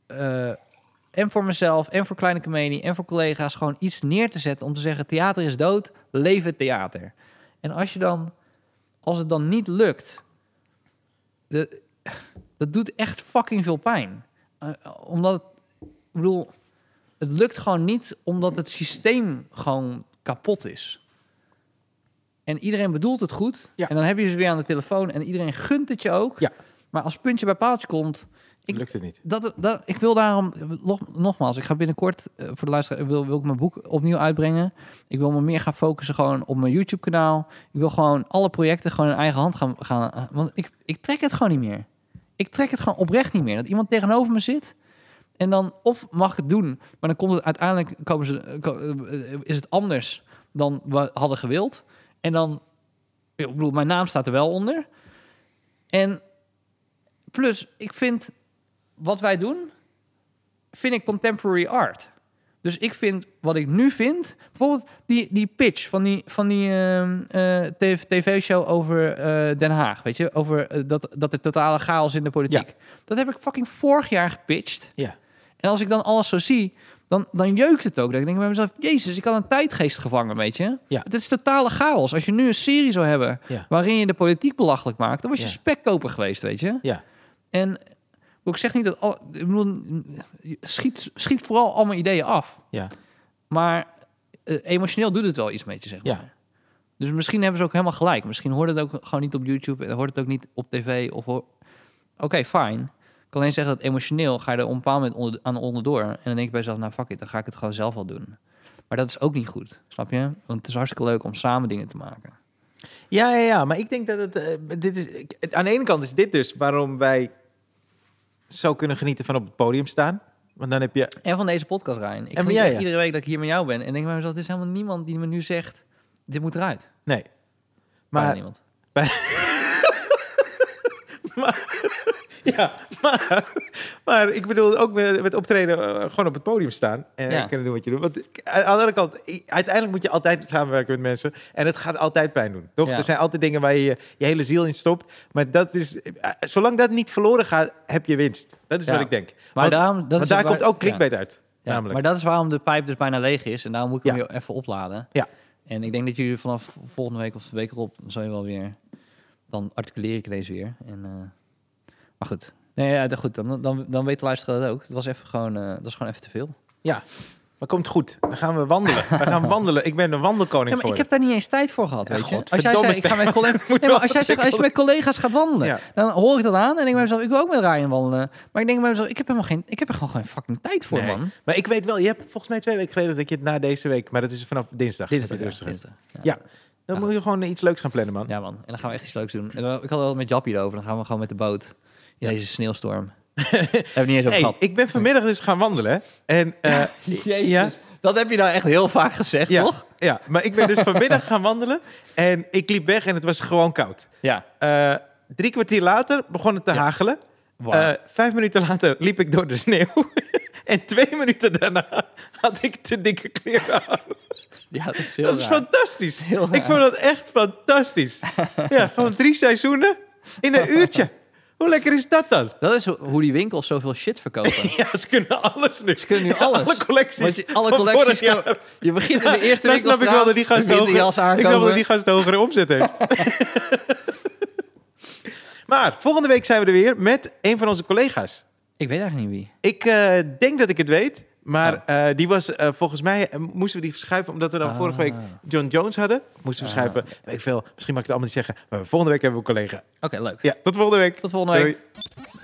[SPEAKER 2] eh, en voor mezelf, en voor Kleine Comedie, en voor collega's gewoon iets neer te zetten. om te zeggen: theater is dood, leef het theater. En als je dan. als het dan niet lukt. De, dat doet echt fucking veel pijn. Eh, omdat, het- ik bedoel, het lukt gewoon niet omdat het systeem gewoon kapot is. En iedereen bedoelt het goed.
[SPEAKER 1] Ja.
[SPEAKER 2] En dan heb je ze weer aan de telefoon en iedereen gunt het je ook.
[SPEAKER 1] Ja.
[SPEAKER 2] Maar als puntje bij paaltje komt. Ik,
[SPEAKER 1] Lukt het niet.
[SPEAKER 2] dat, dat, ik wil daarom, nog- nogmaals, ik ga binnenkort eh, voor de luisteraar, wil, wil ik mijn boek opnieuw uitbrengen. Ik wil me meer gaan focussen gewoon op mijn YouTube-kanaal. Ik wil gewoon alle projecten gewoon in eigen hand gaan. gaan want ik, ik trek het gewoon niet meer. Ik trek het gewoon oprecht niet meer. Dat iemand tegenover me zit en dan, of mag ik het doen, maar dan komt het uiteindelijk, komen ze, eh, ko- eh, is het anders dan we hadden gewild. En dan, ik bedoel, mijn naam staat er wel onder. En plus, ik vind wat wij doen, vind ik contemporary art. Dus ik vind wat ik nu vind, bijvoorbeeld die, die pitch van die, van die ehm, eh, tv tv-show over eh, Den Haag, weet je, over eh, dat, dat er totale chaos in de politiek. Dat heb ik fucking vorig jaar gepitcht.
[SPEAKER 1] Ja.
[SPEAKER 2] En als ik dan alles zo zie, dan, dan jeukt het ook. Dan denk ik bij mezelf, jezus, ik had een tijdgeest gevangen, weet je.
[SPEAKER 1] Ja.
[SPEAKER 2] Het is totale chaos. Als je nu een serie zou hebben
[SPEAKER 1] Ja.
[SPEAKER 2] waarin je de politiek belachelijk maakt... dan was je
[SPEAKER 1] Ja.
[SPEAKER 2] spekkoper geweest, weet je.
[SPEAKER 1] Ja.
[SPEAKER 2] En ik zeg niet dat... Al, ik bedoel, schiet, schiet vooral allemaal ideeën af.
[SPEAKER 1] Ja.
[SPEAKER 2] Maar eh, emotioneel doet het wel iets met je, zeg maar.
[SPEAKER 1] Ja.
[SPEAKER 2] Dus misschien hebben ze ook helemaal gelijk. Misschien hoort het ook gewoon niet op YouTube en hoort het ook niet op tv. Of hoor- Oké, fijn. Ik kan alleen zeggen dat emotioneel ga je er op een bepaald moment onder, aan onderdoor. En dan denk je bij jezelf, nou fuck it, dan ga ik het gewoon zelf wel doen. Maar dat is ook niet goed, snap je? Want het is hartstikke leuk om samen dingen te maken.
[SPEAKER 1] Ja, ja, ja, maar ik denk dat het. eh, dit is, ik- aan de ene kant is dit dus waarom wij zou kunnen genieten van op het podium staan. Want dan heb je
[SPEAKER 2] En van deze podcast, Ryan. Ik
[SPEAKER 1] van
[SPEAKER 2] geniet
[SPEAKER 1] jij,
[SPEAKER 2] echt
[SPEAKER 1] ja.
[SPEAKER 2] iedere week dat ik hier met jou ben. En denk maar, dat is helemaal niemand die me nu zegt, dit moet eruit.
[SPEAKER 1] Nee.
[SPEAKER 2] Maar
[SPEAKER 1] Maar,
[SPEAKER 2] niemand.
[SPEAKER 1] ja, maar, maar ik bedoel ook met, met optreden eh, gewoon op het podium staan. En
[SPEAKER 2] Ja.
[SPEAKER 1] kunnen doen wat je doet. Want ik- aan de andere kant, i- uiteindelijk moet je altijd samenwerken met mensen. En het gaat altijd pijn doen. Toch?
[SPEAKER 2] Ja.
[SPEAKER 1] Er zijn altijd dingen waar je je hele ziel in stopt. Maar dat is, eh, zolang dat niet verloren gaat, heb je winst. Dat is
[SPEAKER 2] Ja.
[SPEAKER 1] wat ik denk.
[SPEAKER 2] Maar
[SPEAKER 1] want,
[SPEAKER 2] daarom, dat
[SPEAKER 1] want
[SPEAKER 2] is
[SPEAKER 1] daar
[SPEAKER 2] waar-
[SPEAKER 1] komt ook
[SPEAKER 2] ja.
[SPEAKER 1] clickbait uit.
[SPEAKER 2] Ja,
[SPEAKER 1] namelijk.
[SPEAKER 2] Maar dat is waarom de pijp dus bijna leeg is. En daarom moet ik hem
[SPEAKER 1] Ja.
[SPEAKER 2] weer even opladen.
[SPEAKER 1] Ja.
[SPEAKER 2] En ik denk dat jullie vanaf volgende week of de week erop... zal je wel weer... Dan articuleer ik deze weer. En, eh, maar goed. Nee, ja, dat- goed. Dan, dan, dan weet de luisteraar dat ook. Het was even gewoon, eh, dat is gewoon even te veel.
[SPEAKER 1] ja. Maar komt goed. Dan gaan we wandelen. we gaan wandelen. Ik ben een wandelkoning
[SPEAKER 2] Ja, maar ik
[SPEAKER 1] geworden.
[SPEAKER 2] heb daar niet eens tijd voor gehad,
[SPEAKER 1] Ja,
[SPEAKER 2] weet je. Als jij
[SPEAKER 1] godverdomme,
[SPEAKER 2] zei, ik ga met collega's, nee, maar als jij zegt, als je met collega's gaat wandelen,
[SPEAKER 1] Ja.
[SPEAKER 2] dan hoor ik dat aan en denk ik bij mezelf, ik wil ook met Ryan wandelen. Maar ik denk bij mezelf, ik heb helemaal geen, ik heb er gewoon geen fucking tijd voor,
[SPEAKER 1] Nee.
[SPEAKER 2] man.
[SPEAKER 1] Maar ik weet wel, je hebt volgens mij twee weken geleden dat je het na deze week, maar dat is vanaf dinsdag.
[SPEAKER 2] Dinsdag,
[SPEAKER 1] Dat
[SPEAKER 2] ja,
[SPEAKER 1] het rustig is.
[SPEAKER 2] dinsdag.
[SPEAKER 1] Ja. Dan moet je gewoon iets leuks gaan plannen, man.
[SPEAKER 2] Ja, man. En dan gaan we echt iets leuks doen. En dan- Ik had het al met Jappie erover. Dan gaan we gewoon met de boot in deze sneeuwstorm. Daar hebben we het niet eens over
[SPEAKER 1] Hey,
[SPEAKER 2] gehad.
[SPEAKER 1] ik ben vanmiddag dus gaan wandelen. hè. En, eh,
[SPEAKER 2] Jezus.
[SPEAKER 1] ja.
[SPEAKER 2] Dat heb je nou echt heel vaak gezegd,
[SPEAKER 1] ja,
[SPEAKER 2] toch?
[SPEAKER 1] Ja, maar ik ben dus vanmiddag gaan wandelen. En ik liep weg en het was gewoon koud.
[SPEAKER 2] Ja.
[SPEAKER 1] Eh, drie kwartier later begon het te
[SPEAKER 2] Ja.
[SPEAKER 1] hagelen.
[SPEAKER 2] Waar.
[SPEAKER 1] Eh, vijf minuten later liep ik door de sneeuw. en twee minuten daarna had ik te dikke kleren aan.
[SPEAKER 2] ja, dat is heel
[SPEAKER 1] Dat is
[SPEAKER 2] raar.
[SPEAKER 1] fantastisch.
[SPEAKER 2] Heel
[SPEAKER 1] ik
[SPEAKER 2] raar.
[SPEAKER 1] vond dat echt fantastisch. ja, gewoon drie seizoenen in een uurtje. Hoe lekker is dat dan?
[SPEAKER 2] Dat is hoe die winkels zoveel shit verkopen.
[SPEAKER 1] Ja, ze kunnen alles nu.
[SPEAKER 2] Ze kunnen nu alles.
[SPEAKER 1] Alle collecties.
[SPEAKER 2] Want je, alle
[SPEAKER 1] van
[SPEAKER 2] collecties.
[SPEAKER 1] vorig
[SPEAKER 2] ko- Je begint in de eerste
[SPEAKER 1] Dan
[SPEAKER 2] week
[SPEAKER 1] snap ik wel dat die gast de hogere,
[SPEAKER 2] jas aankomen.
[SPEAKER 1] ik snap wel dat die gast de hogere omzet heeft. maar volgende week zijn we er weer met een van onze collega's.
[SPEAKER 2] Ik weet eigenlijk niet wie.
[SPEAKER 1] Ik eh, denk dat ik het weet, maar eh, die was eh, volgens mij eh, moesten we die verschuiven omdat we dan
[SPEAKER 2] Ah.
[SPEAKER 1] vorige week John Jones hadden. Of moesten we verschuiven? Weet ik veel. Misschien mag ik het allemaal niet zeggen. Maar volgende week hebben we een collega.
[SPEAKER 2] Oké, leuk.
[SPEAKER 1] Ja, tot volgende week.
[SPEAKER 2] Tot volgende week.
[SPEAKER 1] Doei.